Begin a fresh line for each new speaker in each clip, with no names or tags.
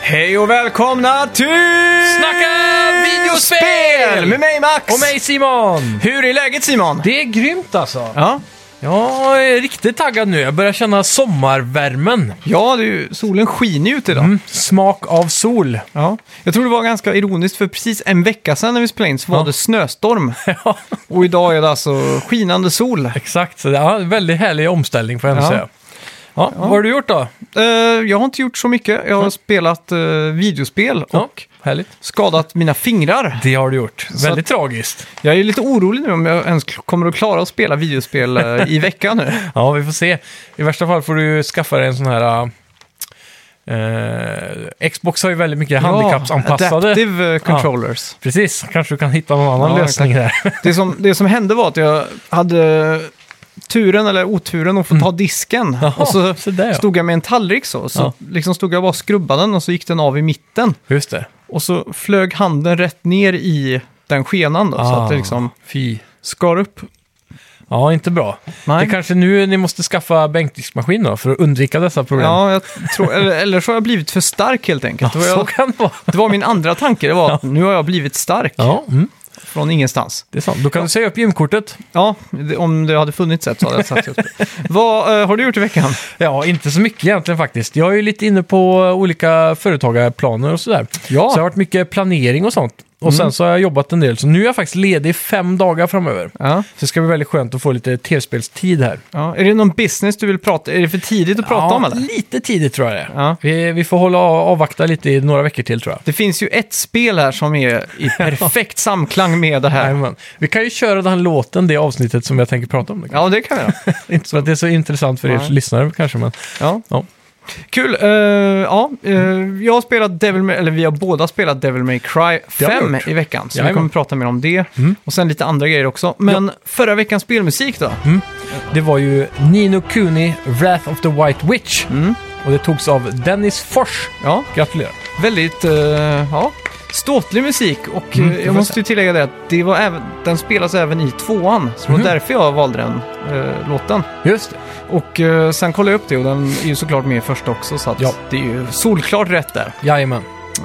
Hej och välkomna till
Snacka videospel!
Med mig Max!
Och mig Simon!
Hur är läget Simon?
Det är grymt alltså.
Ja,
Jag är riktigt taggad nu. Jag börjar känna sommarvärmen.
ja det är ju, solen skiner ju ut idag.
Mm. Smak av sol.
Ja. Jag tror det var ganska ironiskt för precis en vecka sedan när vi spelade in så var
Ja.
det snöstorm.
Ja,
Och idag är det alltså skinande sol.
exakt. Så det är en väldigt härlig omställning får jag ändå
Ja.
säga. Ja, Vad har du gjort då?
Eh, jag har inte gjort så mycket. Jag har spelat eh, videospel och
Ja, härligt.
skadat mina fingrar.
Det har du gjort.
Så
väldigt tragiskt.
Jag är lite orolig nu om jag ens kommer att klara att spela videospel eh, i veckan nu.
Ja, vi får se. I värsta fall får du skaffa dig en sån här... Eh, Xbox har ju väldigt mycket handikappsanpassade.
Adaptive eh, controllers.
Precis, kanske du kan hitta någon annan
Ja,
lösning där.
Det som, det som hände var att jag hade turen eller oturen att få ta disken.
Mm. Jaha,
och så
så där, ja.
stod jag med en tallrik så. Så
Ja.
liksom stod jag och bara skrubbade den och så gick den av i mitten.
Just det.
Och så flög handen rätt ner i den skenan då. Så att
Ah.
det liksom
Fy.
skar upp.
Ja, inte bra.
Nej.
Det är kanske nu ni måste skaffa bänkdiskmaskin då, för att undvika dessa problem.
Ja, jag tror, eller, eller så har jag blivit för stark helt enkelt. Det var,
så
jag,
kan det vara.
det var min andra tanke, det var att nu har jag blivit stark
Ja, mm,
från ingenstans.
det är sant. Då kan du säga upp gymkortet.
Ja, det- om det hade funnits ett så hade jag sagt just det. Vad eh, har du gjort i veckan?
Ja, inte så mycket egentligen faktiskt. Jag är ju lite inne på olika företagarplaner och sådär.
Ja. Mm.
Så det har varit mycket planering och sånt. Och sen så har jag jobbat en del, så nu är jag faktiskt ledig fem dagar framöver.
Ja.
Så det ska bli väldigt skönt att få lite tv-spelstid här.
Ja, är det någon business du vill prata Är det för tidigt att prata
ja,
om eller?
lite tidigt tror jag det är.
Ja.
vi, vi får hålla avvakta lite i några veckor till tror jag.
Det finns ju ett spel här som är i perfekt samklang med det här.
Jajamän. Vi kan ju köra den här låten, det avsnittet som jag tänker prata om. nu.
Ja, det kan jag.
Inte så att det är så intressant för er
Nej.
lyssnare kanske, men
Ja.
Ja.
Kul. Eh, ja, eh, jag har spelat Devil May, eller vi har båda spelat Devil May Cry
har vi
5
gjort.
i veckan. Så vi
Jajamän. Mm.
kommer prata mer om det. Och sen lite andra grejer också. Men förra veckans spelmusik då?
det var ju Nino Kuni, Wrath of the White Witch. Och det togs av Dennis Fors.
Ja,
Gratulerar.
väldigt eh, ja, ståtlig musik. Och eh,
Mm, det får
jag
jag
måste ju tillägga det att det var även, den spelas även i tvåan. Så det var
Mhm.
därför jag valde den eh, låten.
Just det.
Och eh, sen kollade jag upp det och den är ju såklart med i första också så att
Ja.
det är ju solklart rätt där.
Jajamän.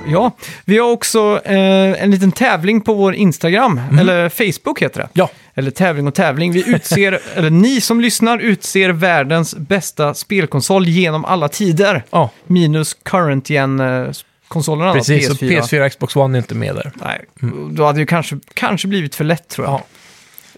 Ja, vi har också eh, en liten tävling på vår Instagram,
Mhm.
eller Facebook heter det.
Ja,
Eller tävling och tävling. Vi utser, eller ni som lyssnar utser världens bästa spelkonsol genom alla tider.
ja.
Minus current gen eh, konsolerna
precis.
då,
PS4.
PS4.
PS4 och Xbox One är inte med där.
Nej, då hade det ju kanske, kanske blivit för lätt tror jag.
Mm. Ja.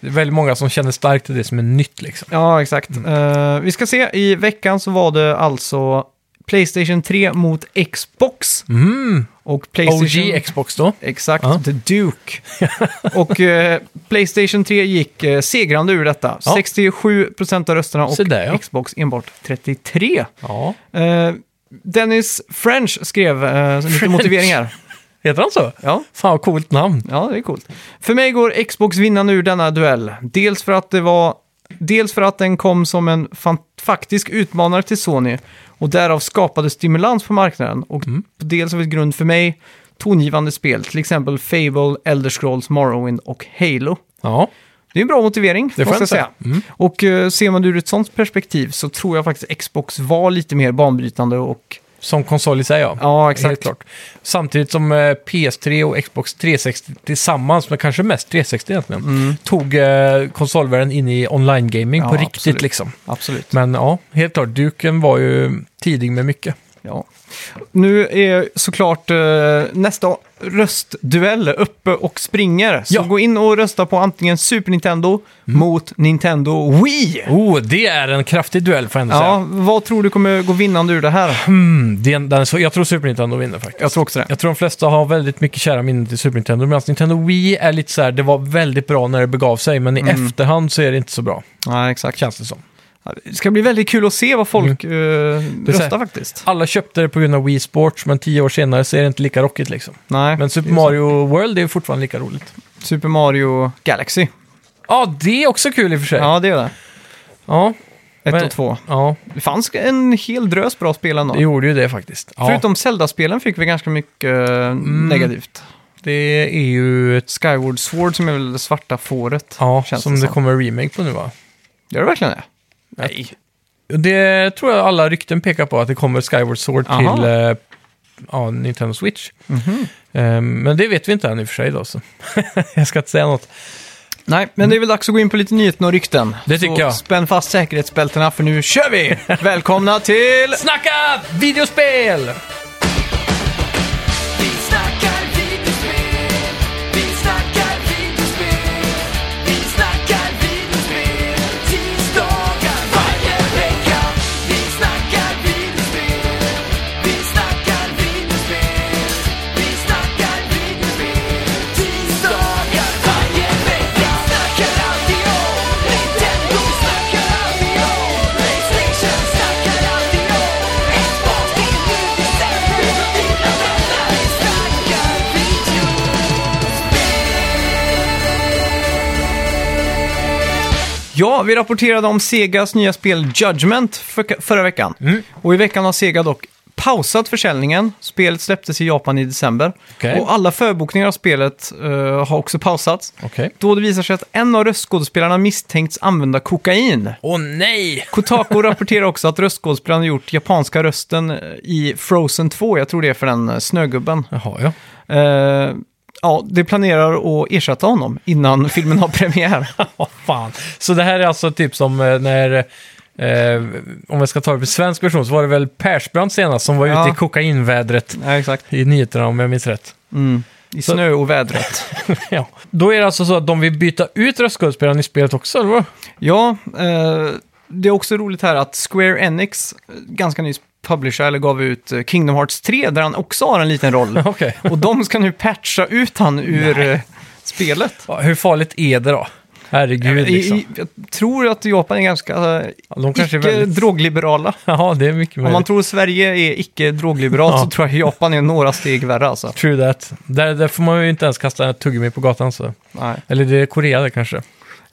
Det är väldigt många som känner starkt till det som är nytt liksom.
Ja, exakt. Eh, vi ska se, i veckan så var det alltså Playstation 3 mot Xbox.
Mm.
Och Playstation...
OG Xbox då.
Exakt,
Ja.
The Duke. och eh, Playstation 3 gick eh, segrande ur detta.
Ja.
67% av rösterna och
Se där, ja.
Xbox enbart 33.
Ja.
Eh, Dennis French skrev eh, lite
French.
motiveringar.
Heter han så?
Ja.
Fan vad coolt namn.
Ja, det är coolt. För mig går Xbox vinnande ur denna duell. Dels för att det var... Dels för att den kom som en fan- faktisk utmanare till Sony och därav skapade stimulans på marknaden. Och
Mm.
dels av ett grund för mig tongivande spel, till exempel Fable, Elder Scrolls, Morrowind och Halo.
Ja.
Det är en bra motivering,
Det får
måste jag
jag
säga. Och eh, ser man det ur ett sånt perspektiv så tror jag faktiskt Xbox var lite mer banbrytande och...
Som konsol i sig ja.
Ja, exakt.
Helt klart. Samtidigt som eh, PS3 och Xbox 360 tillsammans, men kanske mest 360 egentligen, tog eh, konsolvärlden in i online-gaming
Ja,
på riktigt
absolut.
liksom.
Absolut.
Men ja, helt klart, duken var ju tidig med mycket.
Ja. Nu är såklart eh, nästa röstduell uppe och springer. Så
Ja.
gå in och rösta på antingen Super Nintendo mot Nintendo Wii.
Oh, det är en kraftig duell får jag ändå säga.
Ja, vad tror du kommer gå vinnande ur det här?
Mm, det är en- den, är så, jag tror Super Nintendo vinner faktiskt.
Jag tror också det.
Jag tror de flesta har väldigt mycket kära minnen till Super Nintendo, medan Nintendo Wii är lite så här, det var väldigt bra när det begav sig, men i efterhand så är det inte så bra,
Ja, exakt.
känns det som.
Det ska bli väldigt kul att se vad folk eh,
är så
röstar
här-
faktiskt.
Alla köpte det på grund av Wii Sports, men tio år senare så är det inte lika rockigt liksom.
Nej,
Men Super
det är så.
Mario World är fortfarande lika roligt.
Super Mario Galaxy.
Ja, det är också kul i och för sig. Ja.
Ja, det är det.
Ja,
Ett
Men-
och två.
ja
Det fanns en hel drös bra spel ändå.
det gjorde ju det faktiskt. Ja, Mm.
Förutom Zelda-spelen fick vi ganska mycket eh, negativt. E
det är ju ett...
Skyward Sword som är väl det svarta fåret.
Ja,
Känns
som
det
det,
som.
kommer en remake på nu va?
Gör det verkligen det?
Nej. Det tror jag alla rykten pekar på, att det kommer Skyward Sword
Aha.
till eh, ja, Nintendo Switch. Eh, Men det vet vi inte än i och för sig då, så jag ska inte säga något.
Nej, men det är väl dags att gå in på lite nyheter och rykten.
Det tycker
så
jag.
spänn fast säkerhetsbältena för nu kör vi! Välkomna till...
Snacka videospel!
Vi snackar videospel, vi snackar videospel, vi snackar videospel, tisdagar varje vecka. Vi snackar videospel, vi snackar videospel, vi snackar videospel, tisdagar varje vecka. Vi snackar alltid om Nintendo, vi snackar alltid om Playstation, vi snackar alltid om Xbox, det är nu vi sänder, vi snackar vänner, vi snackar videospel.
Ja, vi rapporterade om Segas nya spel Judgment för, förra veckan.
Mm.
Och i veckan har Sega dock pausat försäljningen. Spelet släpptes i Japan i december.
Okej.
Och alla förbokningar av spelet eh, har också pausats.
Okej.
Då det visar sig att en av röstskådespelarna misstänkts använda kokain.
Åh nej!
Kotaku rapporterar också att röstskådespelaren gjort japanska rösten eh, i Frozen 2, jag tror det är för den eh, snögubben.
Jaha, ja.
Eh, ja, det planerar att ersätta honom innan filmen har premiär.
Vad fan. Så det här är alltså typ som eh, när, eh, om jag ska ta det på svensk version, så var det väl Persbrandt senast som var
Ja.
ute i kokainvädret
ja, exakt.
i nyheterna om jag minns rätt.
I snö och vädret.
ja. Då är det alltså så att de vill byta ut röstskådespelaren i spelet också, eller vad?
Ja, eh, det är också roligt här att Square Enix, eh, ganska nyss publisher, eller gav ut eh, Kingdom Hearts 3 där han också har en liten roll.
Okej.
och de ska nu patcha ut han ur eh, spelet.
Ja, hur farligt är det då? Herregud,
I,
liksom.
i, jag tror att Japan är ganska eh,
Ja, De kanske är väldigt...
icke-drogliberala.
Ja, det är mycket
Om man
möjligt.
tror Sverige är icke-drogliberalt
Ja.
så tror jag Japan är några steg värre alltså.
True that. Där, där får man ju inte ens kasta ett tuggummi på gatan. Så.
Nej.
Eller det är Korea det kanske.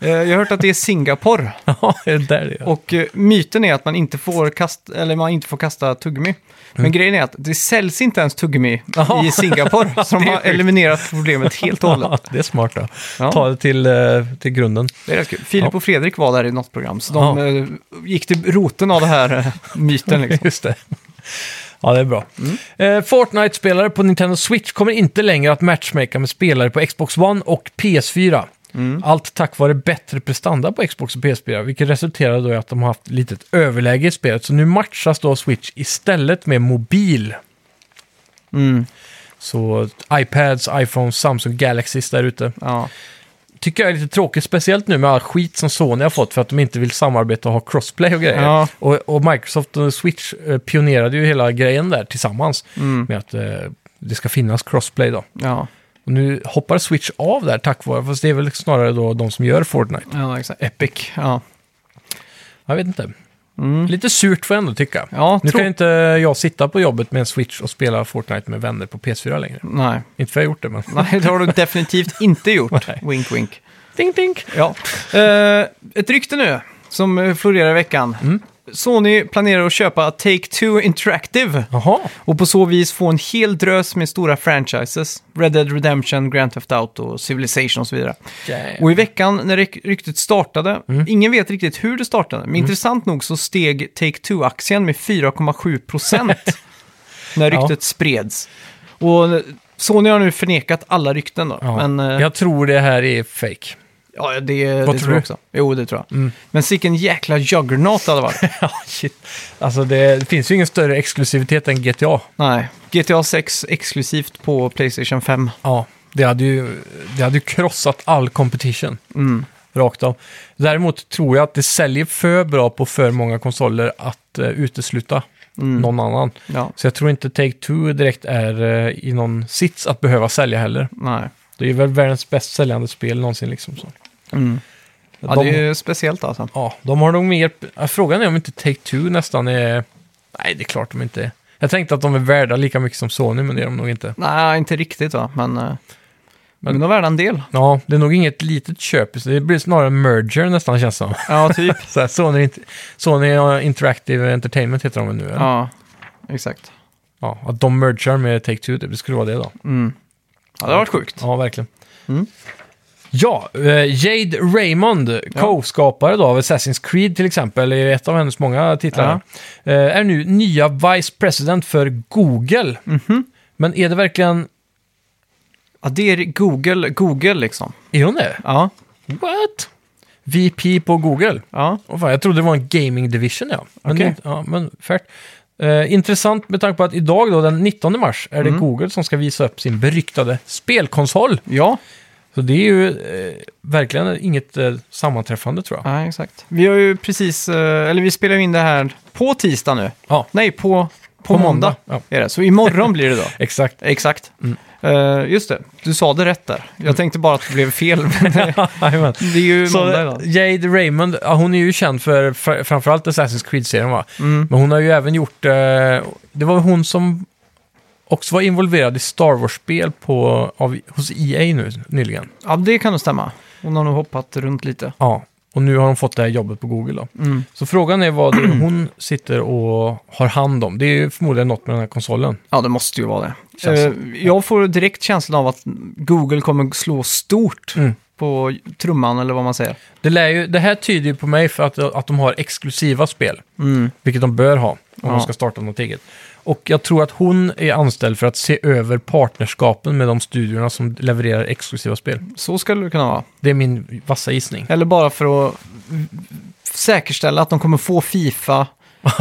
Eh, Jag har hört att det är Singapore.
Ja, det är där det är.
Och eh, myten är att man inte får kasta, eller man inte får kasta tuggummi. Men
Mm.
grejen är att det säljs inte ens tuggummi
Jaha.
i Singapore. så de
Det är
har
sjukt.
eliminerat problemet helt och hållet.
Ja, det är smart då.
Ja.
Ta det till, eh, till grunden.
Det är rätt kul. Filip
Ja.
och Fredrik var där i något program, så de eh, gick till roten av den här eh, myten. Liksom. Mm.
Just det. Ja, det är bra. Eh, Fortnite-spelare på Nintendo Switch kommer inte längre att matchmaka med spelare på Xbox One och PS4.
Mm.
Allt tack vare bättre prestanda på Xbox och PS4, vilket resulterade då i att de har haft ett litet överläge i spelet. Så nu matchas då Switch istället med mobil.
Mm.
Så iPads, iPhones, Samsung Galaxys där ute.
Ja.
Tycker jag är lite tråkigt, speciellt nu med all skit som Sony har fått för att de inte vill samarbeta och ha crossplay och grejer.
Ja.
Och, och Microsoft och Switch eh, pionerade ju hela grejen där tillsammans
Mm.
med att eh, det ska finnas crossplay då.
Ja.
Och nu hoppar Switch av där tack vare, fast det är väl snarare då de som gör Fortnite.
ja, exakt. Epic. Ja,
Jag vet inte. Lite surt får jag ändå tycka.
Mm. ja
nu
tro...
kan ju inte jag sitta på jobbet med en Switch och spela Fortnite med vänner på PS4 längre.
Nej.
Inte för jag har gjort det, men...
Nej, det har du definitivt inte gjort.
Nej.
wink, wink.
Ding, ding.
Ja. Eh, ett rykte nu som eh, florerar i veckan. Sony planerar att köpa Take-Two Interactive
Jaha.
och på så vis få en hel drös med stora franchises. Red Dead Redemption, Grand Theft Auto, och Civilization och så vidare. Och i veckan när ryk- ryktet startade,
Mm.
ingen vet riktigt hur det startade, men intressant nog så steg Take-Two-aktien med 4,7 procent när
Ja.
ryktet spreds. Och eh, Sony har nu förnekat alla rykten då.
Ja.
Men, eh,
Jag tror det här är fake.
Ja, det, det
tror
tror jag
du? Mm.
också. Jo, det tror jag. Men sicken jäkla juggernaut det hade varit.
Ja, shit. Alltså det, det finns ju ingen större exklusivitet än GTA.
Nej, GTA 6 exklusivt på Playstation 5.
Ja, det hade ju, det hade ju krossat all competition.
Mm.
Rakt av. Däremot tror jag att det säljer för bra på för många konsoler att eh, utesluta någon annan.
Mm, Ja,
Så jag tror inte Take-Two direkt är eh, i någon sits att behöva sälja heller.
nej.
Det är väl världens bäst säljande spel någonsin liksom. Så.
Mm. Ja,
de,
det är ju speciellt alltså.
ja, de har nog mer... ja, Frågan är om inte Take-Two nästan är... Nej, det är klart de inte är. Jag tänkte att de är värda lika mycket som Sony, men det är de nog inte.
Nej, inte riktigt va, men... eh, Men, de är värda en del.
Ja, det är nog inget litet köp. så Det blir snarare en merger nästan känns det som.
Ja, typ.
Så här, Sony, Int- Sony Interactive Entertainment heter de väl nu? eller?
ja, exakt.
ja. Att de merger med Take-Two, det skulle vara det då.
Mm. Ja, det har varit sjukt.
Ja, verkligen.
Mm.
Ja, eh, Jade Raymond, co-skapare då av Assassin's Creed till exempel, är ett av hennes många titlar, eh, är nu nya vice president för Google.
Mhm.
Men är det verkligen...
Ja, det är Google, Google liksom.
Är hon det?
Ja,
What? VP på Google?
ja.
Åh fan, jag trodde det var en gaming division, ja. Men,
Okej.
det- ja, men färt. Eh, intressant med tanke på att idag då, den 19 mars, är det
Mm.
Google som ska visa upp sin beryktade spelkonsol.
Ja,
Så det är ju eh, verkligen inget eh, sammanträffande tror jag.
ja exakt. Vi har ju precis, eh, eller vi spelar ju in det här på tisdag nu.
Ja,
Nej, på, på,
På måndag.
måndag.
Ja.
Är det. Så imorgon blir det då.
exakt.
Exakt. Mm. Eh, just det, du sa det rätt där. Jag tänkte bara att det blev fel. Men det,
Jajamän.
det är ju
Så
måndag idag.
Jade Raymond, ja, hon är ju känd för fr- framförallt Assassin's Creed-serien va?
Mm.
Men hon har ju även gjort, eh, det var hon som också var involverad i Star Wars-spel på, av, hos EA nu nyligen.
Ja, det kan nog stämma. Hon har nog hoppat runt lite.
Ja, och nu har hon fått det här jobbet på Google då.
Mm.
Så frågan är vad det är hon sitter och har hand om. Det är ju förmodligen något med den här konsolen.
Ja, det måste ju vara det.
Känns
Eh, jag får direkt känslan av att Google kommer slå stort
Mm.
på trumman eller vad man säger.
Det, lär ju, det här tyder ju på mig för att, att de har exklusiva spel,
Mm.
vilket de bör ha om
Ja.
de ska starta något eget. Och jag tror att hon är anställd för att se över partnerskapen med de studierna som levererar exklusiva spel.
Så skulle det kunna vara.
Det är min vassa gissning.
Eller bara för att mm, säkerställa att de kommer få Fifa,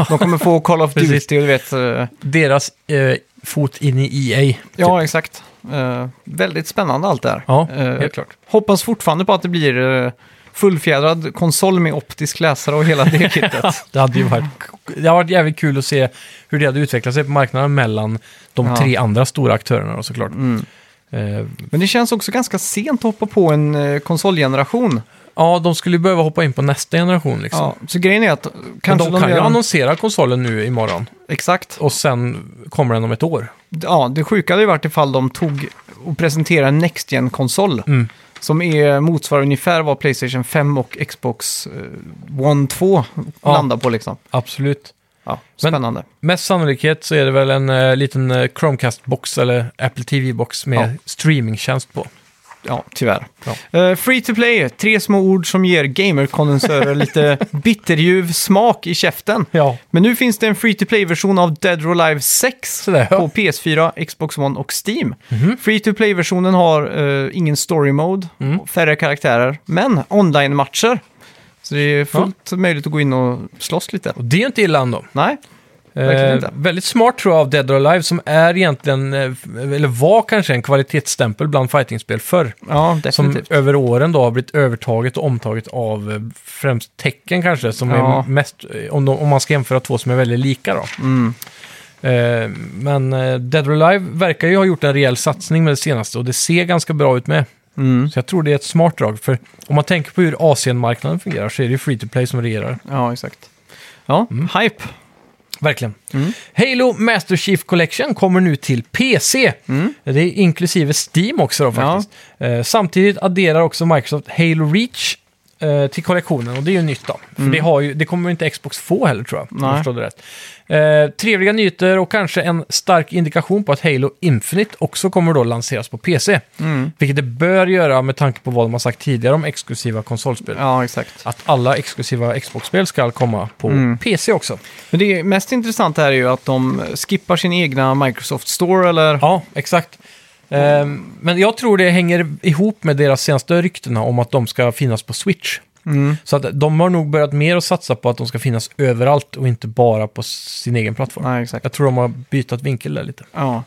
de kommer få Call of
Precis.
Duty och du vet. eh,
Deras eh, fot in i E EA.
Ja, exakt. Eh, väldigt spännande allt det här.
Ja,
Eh,
helt klart.
Hoppas fortfarande på att det blir eh, fullfjädrad konsol med optisk läsare och hela det kittet.
Det hade ju varit,
Mm.
det hade varit jävligt kul att se hur det hade utvecklat sig på marknaden mellan de
Ja.
tre andra stora aktörerna då, såklart.
Mm.
Eh,
Men det känns också ganska sent att hoppa på en eh, konsolgeneration.
ja, de skulle ju behöva hoppa in på nästa generation liksom.
Ja, så grejen är att eh,
Men
kanske
de kan ju
gör en-
annonsera konsolen nu imorgon
Exakt.
och sen kommer den om ett år.
Ja, det sjuka hade ju varit ifall de tog och presenterade en Next Gen-konsol.
Mm.
Som är, motsvarar ungefär vad Playstation 5 och Xbox eh, One 2
Ja.
landar på liksom.
Absolut.
Ja,
Men-
spännande.
Mest sannolikhet så är det väl en eh, liten eh, Chromecast-box eller Apple TV-box med
Ja.
streamingtjänst på.
Ja, tyvärr.
Ja.
Eh, free to play, tre små ord som ger gamerkondensörer lite bitterljuv smak i käften.
Ja,
Men nu finns det en free to play-version av Dead or Alive 6
Sådär, ja. Mhm.
på PS4, Xbox One och Steam. Free to play-versionen har eh, ingen story mode,
Mm.
färre karaktärer, men online-matcher. Så det är fullt möjligt att gå in och slåss lite.
och det är ju inte illa ändå.
Nej, Verkligen
Eh,
inte.
väldigt smart tror jag av Dead or Alive som är egentligen, eh, eller var kanske en kvalitetsstämpel bland fightingspel förr.
ja
Som
definitivt.
över åren då har blivit övertaget och omtaget av eh, främst tecken kanske, som
Ja.
är mest, eh, om, de, om man ska jämföra två som är väldigt lika då.
Mm.
Eh, men eh, Dead or Alive verkar ju ha gjort en rejäl satsning med det senaste och det ser ganska bra ut med.
Mm.
Så jag tror det är ett smart drag, för om man tänker på hur Asienmarknaden fungerar så är det ju free to play som regerar.
Ja, exakt. Ja,
Mm.
hype.
Verkligen.
Mm.
Halo Master Chief Collection kommer nu till PC.
Mm.
Det är inklusive Steam också då faktiskt. Eh, samtidigt adderar också Microsoft Halo Reach eh, till kollektionen och det är ju nytt då. För det, har ju, det kommer ju inte Xbox få heller tror jag, om jag
Mm. Nej.
förstod det rätt. Eh, trevliga nyheter och kanske en stark indikation på att Halo Infinite också kommer då lanseras på PC.
Mm.
Vilket det bör göra med tanke på vad de har sagt tidigare om exklusiva konsolspel.
Ja, exakt.
Att alla exklusiva Xbox-spel ska komma på
Mm.
PC också.
Men det mest intressanta här är ju att de skippar sin egna Microsoft Store eller...
Ja, exakt. Ehm, men jag tror det hänger ihop med deras senaste ryktena om att de ska finnas på Switch.
Mm.
Så att de har nog börjat mer att satsa på att de ska finnas överallt och inte bara på sin egen plattform.
Nej, exakt.
Jag tror de har bytt vinkel där lite.
Ja.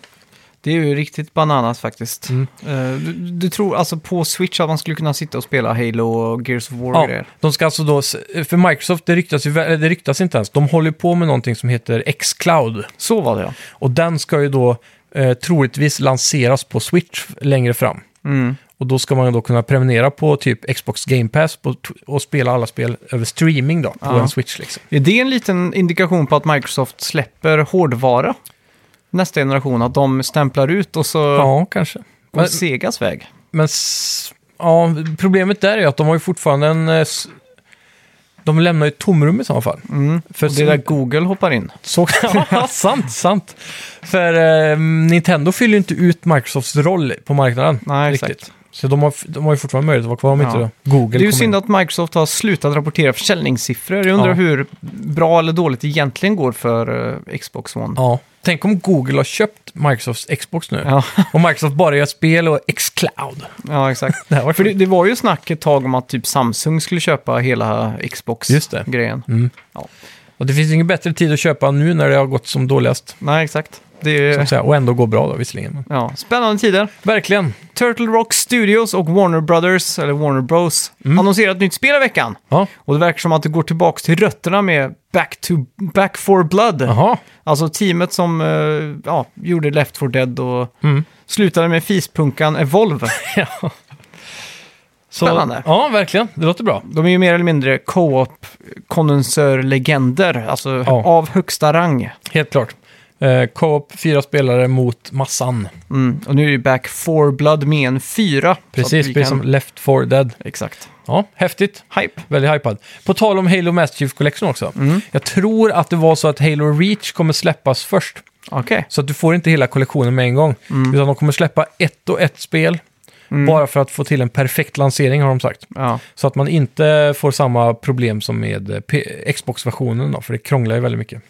Det är ju riktigt bananas faktiskt.
Mm.
Eh, du, du tror alltså på Switch att man skulle kunna sitta och spela Halo och Gears of War och
Ja,
grejer?
de ska alltså då, för Microsoft, det ryktas, ju, vä- eller det ryktas inte ens, de håller ju på med någonting som heter X-Cloud.
Så var det ja.
Och den ska ju då eh, troligtvis lanseras på Switch längre fram.
Mm.
Och då ska man ju då kunna prenumerera på typ Xbox Game Pass på, och spela alla spel över streaming då, på
Ja.
en Switch liksom.
Är det en liten indikation på att Microsoft släpper hårdvara nästa generation? Att de stämplar ut och så
Ja, kanske.
går
Men,
Segas väg?
men s- ja, problemet där är ju att de har ju fortfarande en... eh, s- De lämnar ju ett tomrum i så fall. För
Mm. Och det är där Google hoppar in.
så, ja, sant, sant. För eh, Nintendo fyller ju inte ut Microsofts roll på marknaden.
Nej,
riktigt.
exakt.
Så de har, de har ju fortfarande möjlighet att vara kvar om
Ja.
inte Google
Det är ju
kommer
synd
in.
att Microsoft har slutat rapportera försäljningssiffror. Jag undrar
Ja.
hur bra eller dåligt det egentligen går för eh, Xbox One.
Ja. Tänk om Google har köpt Microsofts Xbox nu.
Ja,
Och Microsoft bara gör spel och Xcloud.
ja exakt.
Det här var
För det, det var ju snack ett tag om att typ Samsung skulle köpa hela
Just det. Mm.
Xbox-grejen.
Och det finns ingen bättre tid att köpa nu när det har gått som dåligast.
Nej, exakt. Det
Så att
är,
säga. Och ändå går bra då visserligen.
ja, spännande tider.
Verkligen.
Turtle Rock Studios och Warner Brothers, eller Warner Bros,
Mm.
annonserar ett nytt spel i veckan.
Ja.
Och det verkar som att det går tillbaka till rötterna med Back, to, Back for Blood.
Jaha.
Alltså teamet som eh, ja, gjorde Left 4 Dead och
Mm.
slutade med fispunkan Evolve.
Så,
Spännande.
Ja, verkligen. Det låter bra.
De är ju mer eller mindre co-op-kondensörlegender, alltså
Ja.
av högsta rang.
Helt klart. Eh, Co-op, fyra spelare mot massan.
Mm. Och nu är ju Back 4 Blood med en 4.
Precis, precis som Left 4 Dead.
Exakt.
Ja, häftigt.
Hype.
Väldigt hypad. På tal om Halo Master Chief Collection också.
Mm.
Jag tror att det var så att Halo Reach kommer släppas först.
Okej.
Så att du får inte hela kollektionen med en gång. Utan de kommer släppa ett och ett spel. Bara för att få till en perfekt lansering har de sagt.
Ja.
Så att man inte får samma problem som med eh, P- Xbox-versionen då, för det krånglar ju väldigt mycket.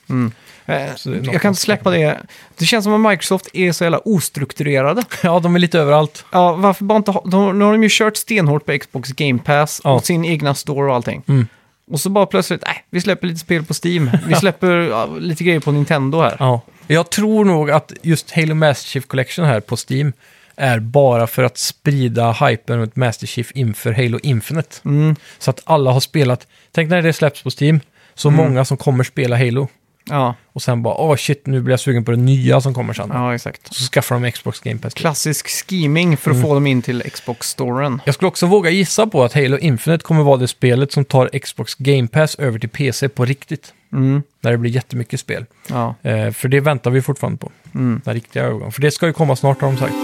Eh,
Så det är något
Jag kan inte släppa det. Det känns som att Microsoft är så jävla ostrukturerade.
Ja, de är lite överallt.
Ja, varför bara inte ha... De, nu har de ju kört stenhårt på Xbox Game Pass
Ja.
och sin egna store och allting.
Mm.
Och så bara plötsligt, nej, vi släpper lite spel på Steam. Vi släpper ja, lite grejer på Nintendo här.
Ja. Jag tror nog att just Halo Master Chief Collection här på Steam är bara för att sprida hypen runt Master Chief inför Halo Infinite.
Mm.
Så att alla har spelat. Tänk när det släpps på Steam, så många som kommer spela Halo.
Ja,
Och sen bara, åh shit, nu blir jag sugen på det nya som kommer sen.
ja exakt.
Så skaffar de Xbox Game Pass.
Klassisk scheming för att
Mm.
få dem in till Xbox-storen.
Jag skulle också våga gissa på att Halo Infinite kommer vara det spelet som tar Xbox Game Pass över till PC på riktigt.
Mm.
När det blir jättemycket spel.
Ja.
Eh, för det väntar vi fortfarande på. Den riktiga övergången. För det ska ju komma snart har de sagt.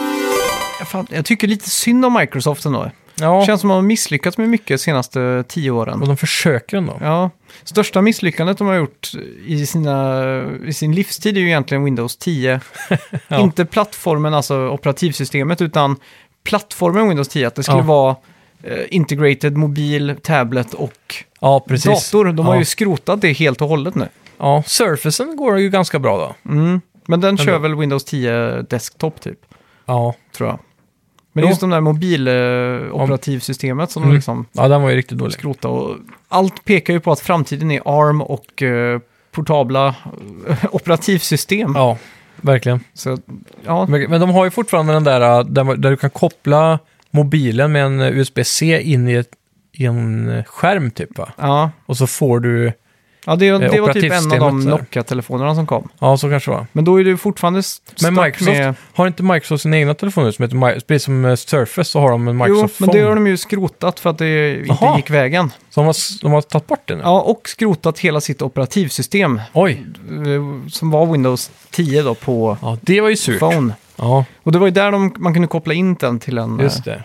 Fan, jag tycker lite synd om Microsoft ändå.
Ja,
Känns som att de har misslyckats med mycket de senaste tio åren.
och de försöker ändå.
Ja, största misslyckandet de har gjort i, sina, i sin livstid är ju egentligen Windows 10.
Ja.
Inte plattformen, alltså operativsystemet, utan plattformen Windows 10. Att det skulle
Ja.
vara eh, integrated, mobil, tablet och
Ja, precis.
dator. De
ja.
har ju skrotat det helt och hållet nu.
Ja, Surfacen går ju ganska bra då.
Mm. Men den kör
Ändå.
väl Windows 10 desktop typ,
Ja.
tror jag. Men
Jo.
just de där mobiloperativsystemet som de
Mm.
liksom
ja, den var ju riktigt dålig.
skrota. Och allt pekar ju på att framtiden är ARM och eh, portabla eh, operativsystem.
Ja, verkligen.
Så, ja.
Men men de har ju fortfarande den där, eh, där, man- där du kan koppla mobilen med en eh, USB-C in i, ett, i en eh, skärm typ va?
Ja.
Och så får du,
ja, det, det var typ en av de
Eh, operativsystemet där.
Nokia-telefonerna som kom.
ja så kanske det var.
Men då är du fortfarande s-
Men
stuck
Microsoft
med...
Har inte Microsoft sina egna telefoner som heter, Mi- precis som eh, Surface så har de en
Jo,
Microsoft
men det
Phone.
har de ju skrotat för att det inte
Jaha.
gick vägen.
Så de har, s- de har tagit bort den nu?
Ja, och skrotat hela sitt operativsystem
Oj,
eh, som var Windows 10 då på
ja, det var ju surt.
Phone.
Ja,
Och det var ju där de, man kunde koppla in den till en... eh,
just det. Men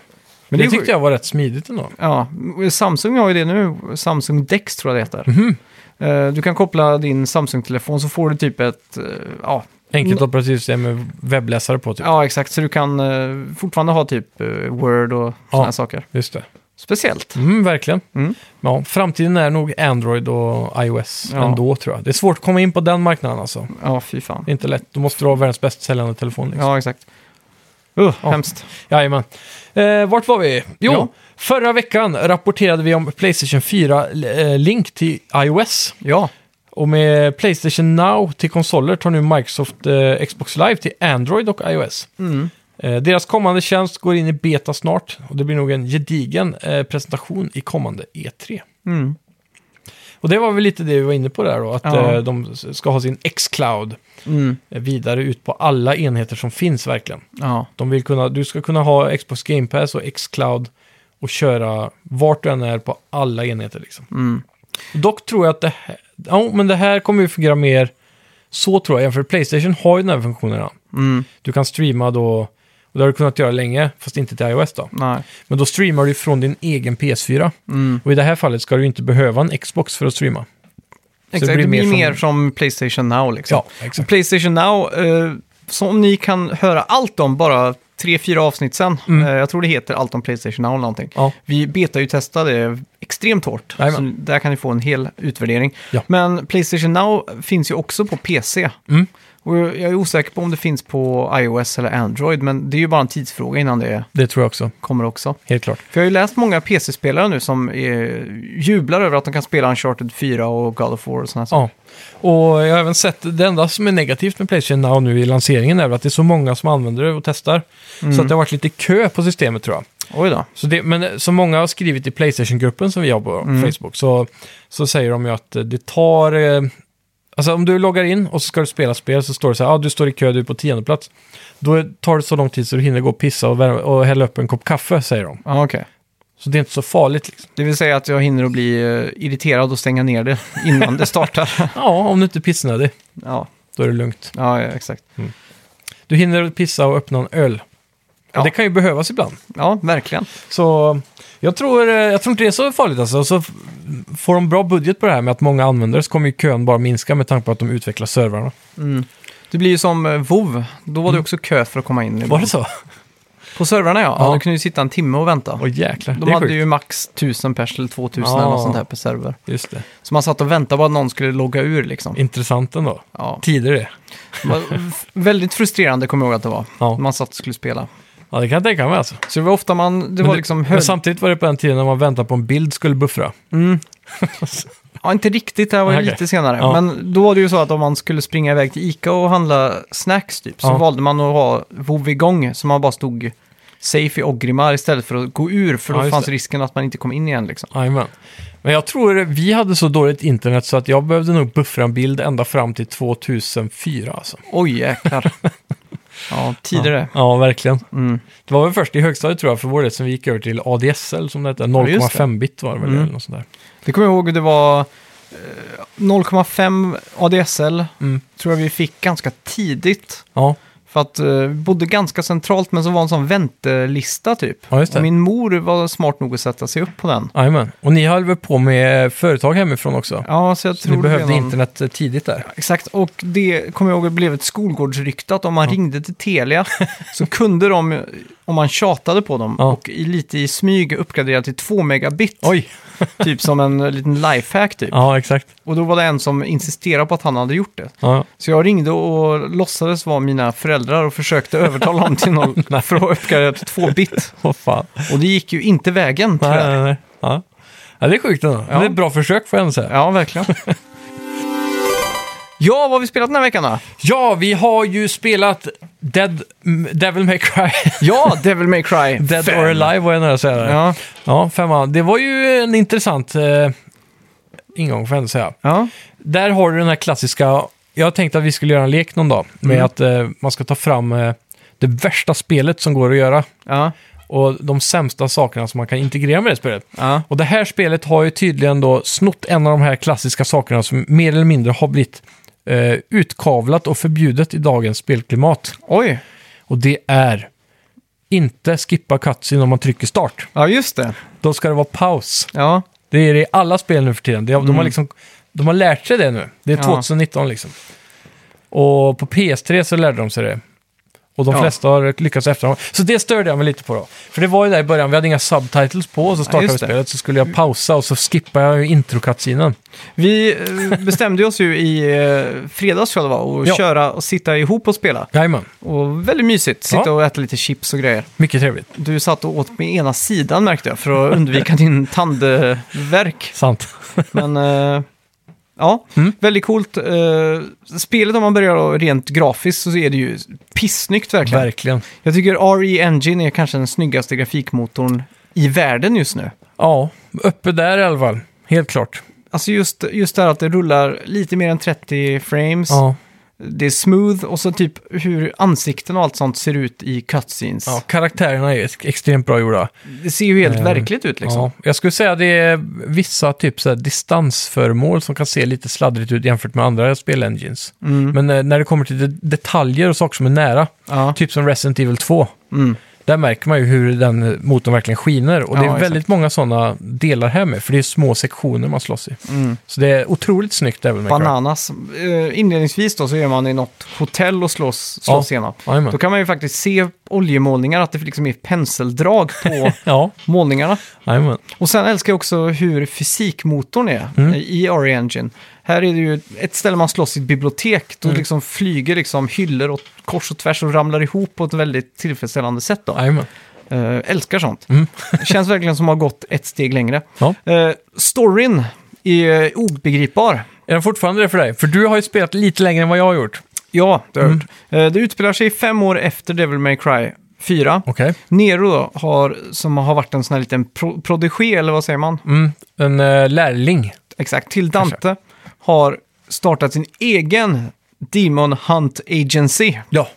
Men
det
det är
tyckte jag var rätt smidigt ändå.
Ja, Samsung har ju det nu. Samsung Dex tror jag det heter. Eh, Du kan koppla din Samsung-telefon så får du typ ett... eh, Ja,
Enkelt operativsystem med webbläsare på typ.
Mm. ja exakt. Så du kan eh, fortfarande ha typ eh, Word och
Ja.
sådana här saker.
Just det.
Speciellt.
Mm, verkligen.
Mm.
Ja, framtiden är nog Android och iOS
Ja.
ändå tror jag. Det är svårt att komma in på den marknaden alltså.
Ja, fy fan.
Det är inte lätt. Du måste dra världens bäst säljande telefon. Liksom.
Ja, exakt. Uh,
Ja.
Hemskt.
Jajamän. Eh, vart var vi? Jo,
Ja.
förra veckan rapporterade vi om Playstation 4-link till iOS.
Ja,
Och med Playstation Now till konsoler tar nu Microsoft eh, Xbox Live till Android och iOS.
Mm.
Eh, deras kommande tjänst går in i beta snart och det blir nog en gedigen eh, presentation i kommande E3.
mm.
Och det var väl lite det vi var inne på där då, att
Ja.
eh, de ska ha sin X-Cloud
Mm.
vidare ut på alla enheter som finns verkligen.
ja.
De vill kunna, du ska kunna ha Xbox Game Pass och X-Cloud och köra vart du än är på alla enheter. Liksom.
Mm.
Dock tror jag att det här, ja, men det här kommer ju fungera mer så tror jag, för Playstation har ju den här funktionen. redan.
Mm.
Du kan streama då, och det har du kunnat göra länge, fast inte till iOS då.
Nej.
Men då streamar du från din egen PS4.
Mm.
Och i det här fallet ska du inte behöva en Xbox för att streama.
Exakt, det blir, mer som Playstation Now liksom.
Ja, exakt.
Playstation Now, eh, som ni kan höra allt om bara tre, fyra avsnitt sedan. Eh, Jag tror det heter Allt om Playstation Now eller någonting.
Mm. Ja.
Vi betar ju testade extremt hårt.
Jajamän.
Så där kan ni få en hel utvärdering.
Ja.
Men Playstation Now finns ju också på PC.
Mm.
Och jag är osäker på om det finns på iOS eller Android, men det är ju bara en tidsfråga innan det
Det tror jag också,
kommer också.
helt klart.
För jag har ju läst många PC-spelare nu som eh, jublar över att de kan spela Uncharted 4 och God of War och sådana saker.
Ja. Och jag har även sett, det enda som är negativt med Playstation Now nu i lanseringen är väl att det är så många som använder det och testar. Så att det har varit lite kö på systemet tror jag.
Oj då.
Så det, men som många har skrivit i Playstation-gruppen som vi har på Facebook så, så säger de ju att det tar... Eh, alltså om du loggar in och så ska du spela spel så står det så här, ah, du står i kö, du är på tionde plats. Då tar det så lång tid så du hinner gå och pissa och, värma, och hälla upp en kopp kaffe, säger de.
Ja, okej.
Så det är inte så farligt liksom.
Det vill säga att jag hinner att bli eh, irriterad och stänga ner det innan det startar.
Ja, om du inte är pissnödig,
Ja,
då är det lugnt.
ja ja, exakt.
Du hinner pissa och öppna en öl.
Ja.
Och det kan ju behövas ibland.
Ja, verkligen.
Så jag tror, eh, jag tror inte det är så farligt alltså. Så f- får de bra budget på det här med att många användare så kommer ju kön bara minska med tanke på att de utvecklar servrarna.
Det blir ju som eh, WoW. Då var det också kö för att komma in.
Mm. Var det så?
På servrarna ja.
Ja.
ja. Du kunde ju sitta en timme och vänta.
Åh jäklar,
De
det är
hade
sjukt.
ju max 1000 pers eller 2000 eller
Ja.
något sånt här per server.
Just det.
Så man satt och väntade på att någon skulle logga ur liksom.
Intressant ändå.
Ja.
Tider det.
Det var f- Väldigt frustrerande kommer jag ihåg att det var.
Ja.
Man satt och skulle spela.
Ja, det kan jag tänka mig alltså.
Så det var ofta man, det
Men
var
det-
liksom hög...
Men samtidigt var det på den tiden när man väntade på en bild skulle buffra.
Ja, inte riktigt, det här var ju
Okej.
lite senare.
Ja.
Men då var det ju så att om man skulle springa iväg till Ica och handla snacks typ, så
Ja.
valde man att ha WoW igång, så man bara stod safe i Ogrimar istället för att gå ur, för
Ja,
då
just
fanns
det.
risken att man inte kom in igen liksom.
Jajamän. Men jag tror vi hade så dåligt internet så att jag behövde nog buffra en bild ända fram till 2004 alltså.
Oj, jäklar. ja, tidigare.
Ja, verkligen.
Mm.
Det var väl först i högstadiet tror jag för vår del som vi gick över till ADSL som det hette.
just det.
0,5 bit var det väl
Mm.
eller något sånt där.
Det kommer jag ihåg, det var eh, 0,5 ADSL,
Mm.
tror jag vi fick ganska tidigt.
Ja,
För att eh, vi bodde ganska centralt, men så var en sån väntelista typ.
Ja, just det.
Och min mor var smart nog att sätta sig upp på den.
jajamän. Och ni höll väl på med företag hemifrån också?
Ja, så jag
så
tror
ni
det
behövde
blev någon-
internet eh, tidigt där?
Exakt, och det kommer jag ihåg blev ett skolgårdsrykte att om man ringde till Telia så kunde de, om man tjatade på dem,
Ja.
och i, lite i smyg uppgradera till 2 megabit.
Oj!
Typ som en eh, liten lifehack typ.
Ja, exakt.
Och då var det en som insisterade på att han hade gjort det.
Ja.
Så jag ringde och låtsades vara mina föräldrar och försökte övertala dem till någon för att uppgradera till 2 bit.
Åh fan.
Och det gick ju inte vägen
Nej,
tyvärr.
nej, nej. Ja. ja, det är sjukt ändå. Men
Ja.
det är ett bra försök får jag ändå säga.
Ja, verkligen. Ja, vad har vi spelat den här veckan då?
Ja, vi har ju spelat Dead, m- Devil May Cry.
Ja, Devil May Cry
Dead
fem.
or Alive var jag nära att säga. där.
Ja,
ja, femma. Det var ju en intressant eh, ingång får jag ändå säga.
ja.
Där har du den här klassiska, jag tänkte att vi skulle göra en lek någon dag med
Mm.
att eh, man ska ta fram eh, det värsta spelet som går att göra
Ja,
och de sämsta sakerna som man kan integrera med det spelet.
ja.
Och det här spelet har ju tydligen då snott en av de här klassiska sakerna som mer eller mindre har blivit eh, utkavlat och förbjudet i dagens spelklimat.
Oj,
Och det är inte skippa cutscene om man trycker start.
ja just det.
Då ska det vara paus.
Ja,
Det är det i alla spel nu för tiden. De, de, har liksom, de har lärt sig det nu. Det är
Mm. Ja.
2019 liksom. Och på PS3 så lärde de sig det. Och de
Ja.
flesta har lyckats efter dem. Så det störde jag mig lite på då. För det var ju där i början, vi hade inga subtitles på och så startade vi
just det.
spelet. Så skulle jag pausa och så skippade jag ju intro-cutscenen.
vi eh, bestämde oss ju i eh, fredags tror jag det var, att
Ja.
köra och sitta ihop och spela.
Jajamän,
Och väldigt mysigt, sitta
Ja.
och äta lite chips och grejer.
mycket trevligt.
Du satt och åt med ena sidan märkte jag, för att undvika din tandvärk.
Sant.
Men eh, ja,
Mm.
väldigt coolt. Eh, Spelet om man börjar då rent grafiskt så är det ju pissnyggt verkligen.
Verkligen.
Jag tycker RE Engine är kanske den snyggaste grafikmotorn i världen just nu.
Ja, uppe där i alla fall. Helt klart.
Alltså just, just det här att det rullar lite mer än 30 frames.
Ja.
Det är smooth och så typ hur ansikten och allt sånt ser ut i cutscenes.
ja, karaktärerna är extremt bra gjorda.
Det ser ju helt
Eh,
verkligt ut liksom.
Ja, jag skulle säga det är vissa typ så här distansföremål som kan se lite sladdrigt ut jämfört med andra spelengines.
Mm.
Men eh, när det kommer till det- detaljer och saker som är nära,
Ja.
typ som Resident Evil 2,
Mm.
där märker man ju hur den eh, motorn verkligen skiner. Och det är
Ja, exakt.
väldigt många sådana delar här med, för det är små sektioner man slåss i.
Mm.
Så det är otroligt snyggt även med
Bananas. Eh, Inledningsvis då så är man i något hotell och slåss, slåss igenom.
Jajamän.
Då kan man ju faktiskt se oljemålningar, att det liksom är penseldrag på
Ja,
målningarna.
jajamän.
Och sen älskar jag också hur fysikmotorn är
Mm.
i RE-Engine. Här är det ju ett ställe man slåss i ett bibliotek.
Mm.
Då liksom flyger liksom hyllor åt kors och tvärs och ramlar ihop på ett väldigt tillfredsställande sätt. Då.
jajamän.
Eh, älskar sånt. Det känns verkligen som att ha gått ett steg längre.
Mm. Ja.
Eh, storyn är eh, obegripbar.
Är den fortfarande det för dig? För du har ju spelat lite längre än vad jag har gjort.
Ja, det har
Mm.
jag hört. Eh, det utspelar sig fem år efter Devil May Cry 4.
Okej.
Nero då, har, som har varit en sån här liten pro- prodigé, eller vad säger man?
Mm. En eh, lärling.
Exakt, till Dante har startat sin egen Demon Hunt Agency.
Ja.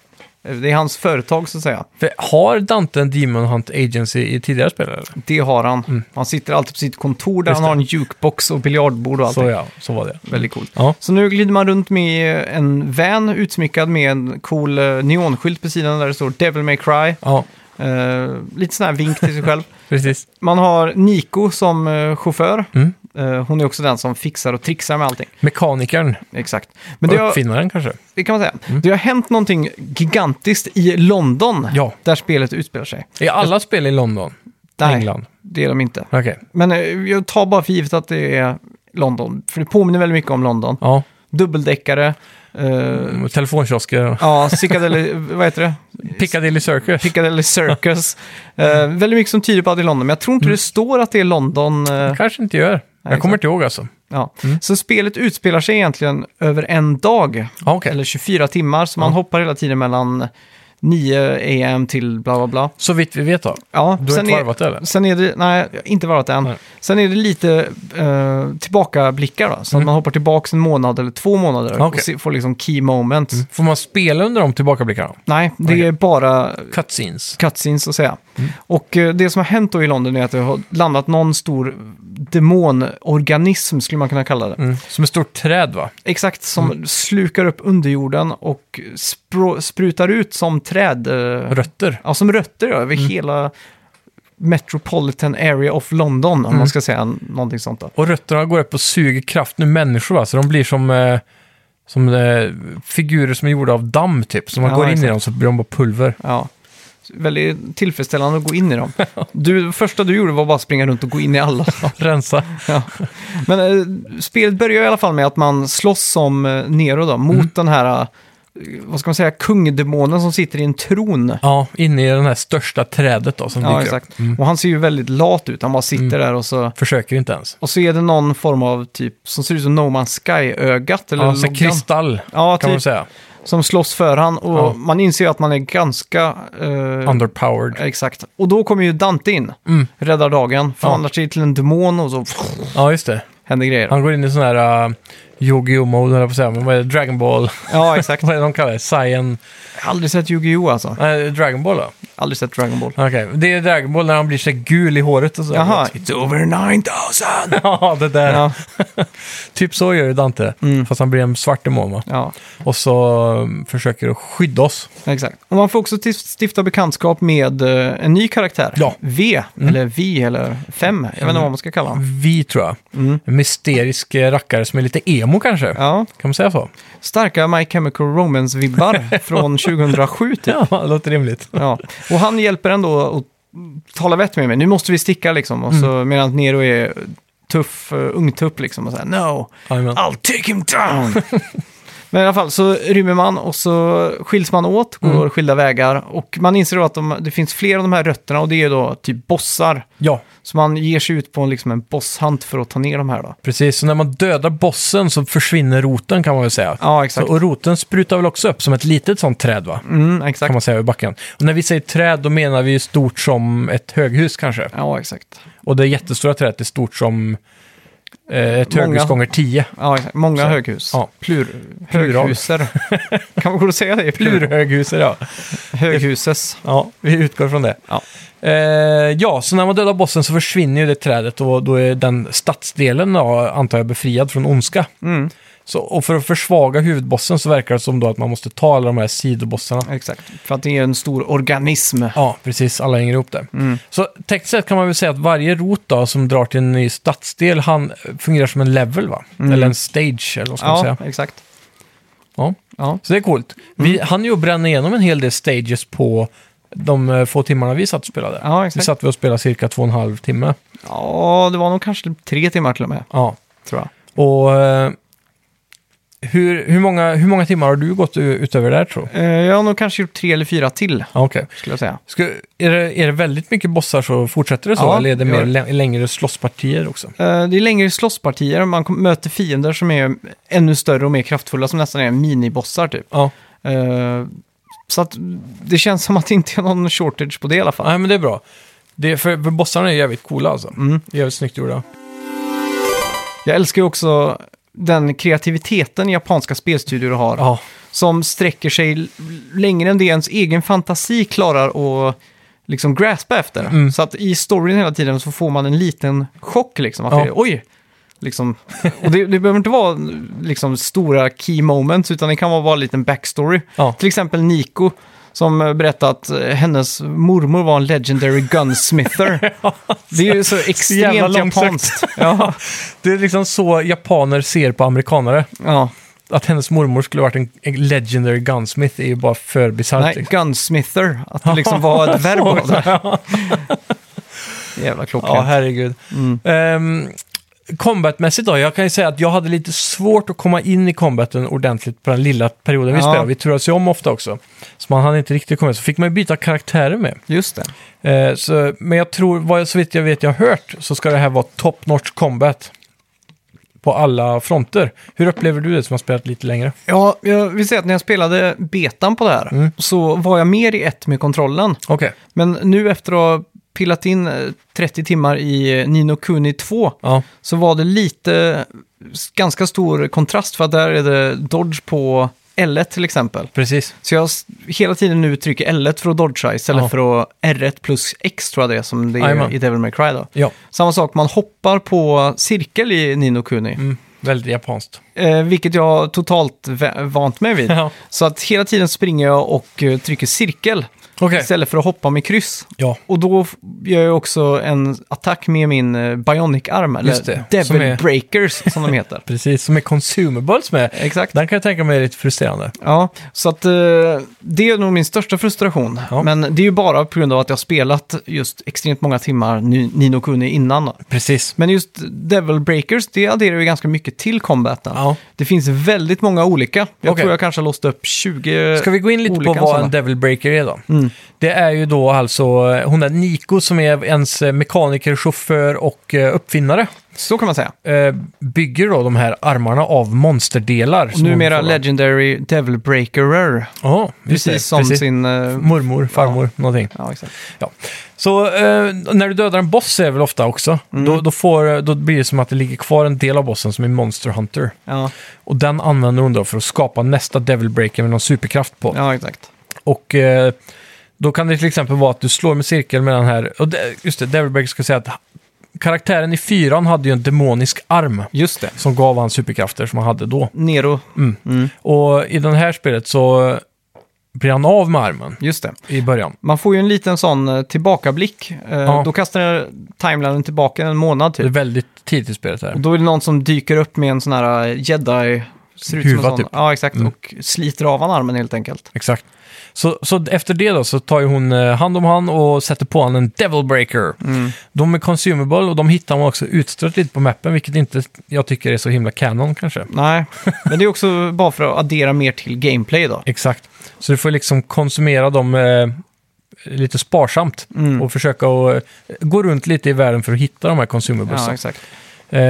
Eh, Det är hans företag så att säga.
För har Dante en Demon Hunt Agency i tidigare spel? Eller?
Det har han. Han sitter alltid på sitt kontor där
Mm. Just
han har en jukebox och biljardbord och allt.
Så ja, så var det.
Väldigt coolt.
Ja.
Så nu glider man runt med en van utsmyckad med en cool eh, neonskylt på sidan där det står Devil May Cry.
Ja,
Eh, lite sån här vink till sig själv.
precis.
Man har Nico som eh, chaufför.
Mm.
Eh, hon är också den som fixar och trixar med allting.
Mekanikern.
Exakt.
Men
Men det har,
Uppfinnaren kanske?
det kan man säga.
Mm.
Det har hänt någonting gigantiskt i London,
Ja.
där spelet utspelar sig.
Är alla spel i London?
Nej,
England?
det är de inte.
Okej.
Men eh, jag tar bara för givet att det är London, för det påminner väldigt mycket om London.
Ja.
Dubbeldäckare, eh,
Mm, Telefonkiosker.
ja, Piccadilly, vad heter det?
Piccadilly Circus.
Piccadilly Circus.
Mm.
Eh, väldigt mycket som tyder på att det är London, men jag tror inte det står att det är London. eh,
kanske inte gör. Jag
exakt.
kommer inte ihåg alltså.
ja. Så spelet utspelar sig egentligen över en dag.
Ja, okej.
eller 24 timmar, så man hoppar hela tiden mellan 9 am till bla bla bla.
Så vitt vi vet då.
Ja,
Du har inte varvat det, eller?
Sen är det, nej, inte varvat än.
Nej.
Sen är det lite eh, tillbakablickar då, så att man hoppar tillbaka en månad eller två månader och
Mm. Okej.
se, får liksom key moments.
Får man spela under de tillbakablickarna?
Nej, det
Okej. Mm.
är bara
Cutscenes.
cutscenes så att säga. Och eh, det som har hänt då i London är att det har landat någon stor demonorganism, skulle man kunna kalla det.
Mm. Som ett stort träd va?
Exakt, som
Mm.
slukar upp underjorden och spro- sprutar ut som träd... eh,
Rötter.
Ja, som rötter ja, över
Mm.
hela Metropolitan Area of London, om
Mm.
man ska säga n- någonting sånt. Då.
Och rötterna går upp och suger kraften ur människor va? Så de blir som, eh, som eh, figurer som är gjorda av damm typ. Så man
Ja,
går in i
exakt.
dem så blir de bara pulver.
Ja. Väldigt tillfredsställande att gå in i dem. Du, det första du gjorde var bara springa runt och gå in i alla.
Rensa.
Ja. Men eh, spelet börjar i alla fall med att man slåss som eh, Nero då,
Mm.
mot den här, eh, vad ska man säga, kungdemonen som sitter i en tron.
Ja, inne i det här största trädet då som
Ja,
dyker upp.
exakt. Och han ser ju väldigt lat ut, han bara sitter
Mm.
där och så...
Försöker inte ens.
Och så är det någon form av typ, som ser ut som No Man's Sky-ögat eller
Ja, så här
loggan.
kristall
Ja,
kan man
typ.
säga.
som slåss för han och
Ja.
man inser ju att man är ganska... eh,
Underpowered.
Exakt. Och då kommer ju Dante in,
Mm.
räddar dagen, förvandlar sig till en demon och så
Ja, just det.
händer grejer.
Han går in i sån här uh, Yu-Gi-Oh-mode, höll jag på att säga. Men vad är det? Dragon Ball?
Ja, exakt.
vad är det de kallar det? Cyan...
Aldrig sett Yu-Gi-Oh! alltså.
Nej, Dragon Ball då?
Aldrig sett Dragon Ball.
Okej, det är Dragon Ball när han blir så här gul i håret och så.
Jaha. It's over 9000!
ja, det där.
Ja,
Typ så gör ju Dante.
Mm.
Fast han blir en svart demon va?
ja,
Och så um, försöker att skydda oss.
exakt. Och man får också tif- stifta bekantskap med eh, en ny karaktär.
Ja.
V, eller Vi, eller Fem. Jag vet inte vad man ska kalla honom.
Vi tror jag. En mysterisk eh, rackare som är lite emo kanske.
Mm. Ja,
Kan man säga så?
starka My Chemical Romance-vibbar från 2007 typ.
Ja, det låter rimligt.
Ja, och han hjälper ändå att tala vett med mig. Nu måste vi sticka liksom. Och så
Mm.
medan Nero är tuff, uh, ungtupp liksom. Och så här, no,
Jajamän.
I'll take him down. Men i alla fall så rymmer man och så skiljs man åt,
Mm.
går skilda vägar. Och man inser då att de, det finns fler av de här rötterna och det är då typ bossar.
Ja,
Så man ger sig ut på en, liksom en bosshunt för att ta ner de här då.
precis. Så när man dödar bossen så försvinner roten kan man väl säga.
Ja, exakt.
Så, och roten sprutar väl också upp som ett litet sånt träd va?
Mm,
Kan
exakt.
man säga i backen. Och när vi säger träd då menar vi ju stort som ett höghus kanske.
Ja, exakt.
Och det jättestora trädet är stort som eh, ett
Många.
höghus gånger tio.
Ja, exakt. Många
Så-
höghus.
Ja.
Plur,
Plural.
höghuser. kan man gå och säga det?
Plurhöghus är det ja.
Höghuses.
Ja, vi utgår från det.
Ja.
Eh, ja, så när man dödar bossen så försvinner ju det trädet och då är den stadsdelen då, antar jag befriad från ondska.
Mm.
Så, och för att försvaga huvudbossen så verkar det som då att man måste ta alla de här sidobossarna.
Exakt, för att det är en stor organism.
Ja, precis. Alla hänger ihop där.
Mm.
Så tekniskt sett kan man väl säga att varje rot då, som drar till en ny stadsdel han fungerar som en level, va? Eller en stage, eller vad ska man
Mm. Ja,
säga.
exakt.
Ja.
Ja. Mm.
Så det är coolt. Vi hann ju bränna igenom en hel del stages på de eh, få timmarna vi satt och spelade.
Ja,
Vi
exakt.
satt vi och spelade cirka två och en halv timme.
Ja, det var nog kanske tre timmar till och med,
Ja.
tror jag.
Och eh, hur, hur, många, hur många timmar har du gått u- utöver det här tror du?
Eh, Jag har nog kanske gjort tre eller fyra till,
Ja, Okej.
skulle jag säga.
Ska, är, det, är det väldigt mycket bossar så fortsätter det så?
Ja,
eller är det
det
mer
gör
lä- längre slåsspartier också?
Eh, Det är längre slåsspartier och man kom- möter fiender som är ännu större och mer kraftfulla, som nästan är minibossar typ.
Ja.
Eh, Så att det känns som att det inte är någon shortage på det i alla fall.
Nej, men det är bra. Det, för, för bossarna är jävligt coola alltså.
Mm.
Jävligt snyggt gjorda.
Jag älskar ju också den kreativiteten japanska spelstudior har.
Ja,
Som sträcker sig l- längre än det ens egen fantasi klarar att liksom graspa efter.
Mm.
Så att i storyn hela tiden så får man en liten chock liksom. Att
Ja.
det, oj! Liksom. Och det, det behöver inte vara liksom stora key moments, utan det kan vara bara en liten backstory.
Ja.
Till exempel Nico, som eh, berättade att eh, hennes mormor var en legendary gunsmither. det är ju så
jävla
extremt
långsökt.
japanskt. Ja.
det är liksom så japaner ser på amerikanare.
Ja.
Att hennes mormor skulle varit en en legendary gunsmith är ju bara för bisarrt.
Nej,
liksom.
gunsmither. Att det liksom var ett verb av det. Jävla
Ja,
klockrent.
herregud.
Mm.
Ehm, combatmässigt då, jag kan ju säga att jag hade lite svårt att komma in i combaten ordentligt på den lilla perioden vi
Ja.
spelade. Vi turades ju om ofta också. Så man hann inte riktigt komma in. Så fick man ju byta karaktärer med.
Just det.
Eh, så, men jag tror, vad jag, så vitt jag vet jag har hört, så ska det här vara top notch combat. På alla fronter. Hur upplever du det som har spelat lite längre?
Ja, jag vill säga att när jag spelade betan på det här
Mm.
så var jag mer i ett med kontrollen.
Okej.
Men nu efter att ha pillat in eh, 30 timmar i eh, Nino Kuni 2
Ja.
så var det lite eh, s- ganska stor kontrast för att där är det dodge på L1 till exempel.
Precis.
Så jag s- hela tiden nu trycker L1 för att dodga istället
Ja.
för att R1 plus X tror jag det är som det är
Jajamän.
i Devil May Cry då.
Ja,
Samma sak, man hoppar på cirkel i Nino Kuni.
mm, väldigt japanskt.
Eh, vilket jag totalt vä- vant mig vid.
Ja.
Så att hela tiden springer jag och eh, trycker cirkel
Okej.
istället för att hoppa med kryss.
Ja.
Och då f- gör jag också en attack med min eh, Bionic-arm, eller
Just det, som
Devil
är-
Breakers som de heter.
Precis, som är consumables med.
Exakt.
Den kan jag tänka mig är lite frustrerande.
Ja, så att eh, det är nog min största frustration.
Ja.
Men det är ju bara på grund av att jag har spelat just extremt många timmar Ni- Nino Kuni innan. Då.
Precis.
Men just Devil Breakers, det adderar ju ganska mycket till combaten.
Ja.
Det finns väldigt många olika. Jag
Okej.
tror jag kanske har låst upp 20
Ska vi gå in lite på
olika
vad
sådana.
en Devil Breaker är då?
Mm.
Det är ju då alltså eh, hon är Niko som är ens eh, mekaniker, chaufför och eh, uppfinnare.
Så kan man säga.
Eh, Bygger då de här armarna av monsterdelar.
Och
som hon
numera
får, va?
Legendary Devil Breaker.
Ja, just det.
Precis som sin... eh,
Mormor, farmor, någonting.
Ja, exakt.
Så eh, när du dödar en boss är väl ofta också,
Mm.
då, då, får, eh, då blir det som att det ligger kvar en del av bossen som är Monster Hunter.
Ja,
Och den använder hon då för att skapa nästa Devil Breaker med någon superkraft på.
ja exakt.
Och eh, då kan det till exempel vara att du slår med cirkel med den här. Och det, just det, Devil Breaker ska säga att karaktären i fyran hade ju en demonisk arm
Just det.
som gav han superkrafter som han hade då.
Nero.
Mm.
Mm,
Och i det här spelet så blir han av med armen
just det.
i början.
Man får ju en liten sån eh, tillbakablick. Eh,
Ja.
Då kastar timelinen tillbaka en månad
Det är
typ.
väldigt tidigt i spelet här.
Och då är det någon som dyker upp med en sån här eh, jedi... Ser ut som en
Huva,
sån.
typ.
Ja, exakt. Och sliter av han armen helt enkelt.
Exakt. Så, så efter det då så tar ju hon eh, hand om han och sätter på han en Devil Breaker.
Mm.
De är consumable och de hittar man också utstrött lite på mappen, vilket inte jag tycker är så himla canon kanske.
Nej, men det är också bara för att addera mer till gameplay då.
Exakt. Så du får liksom konsumera dem eh, lite sparsamt
Mm.
och försöka att, eh, gå runt lite i världen för att hitta de här
Ja,
consumablesen.
exakt.
Ja,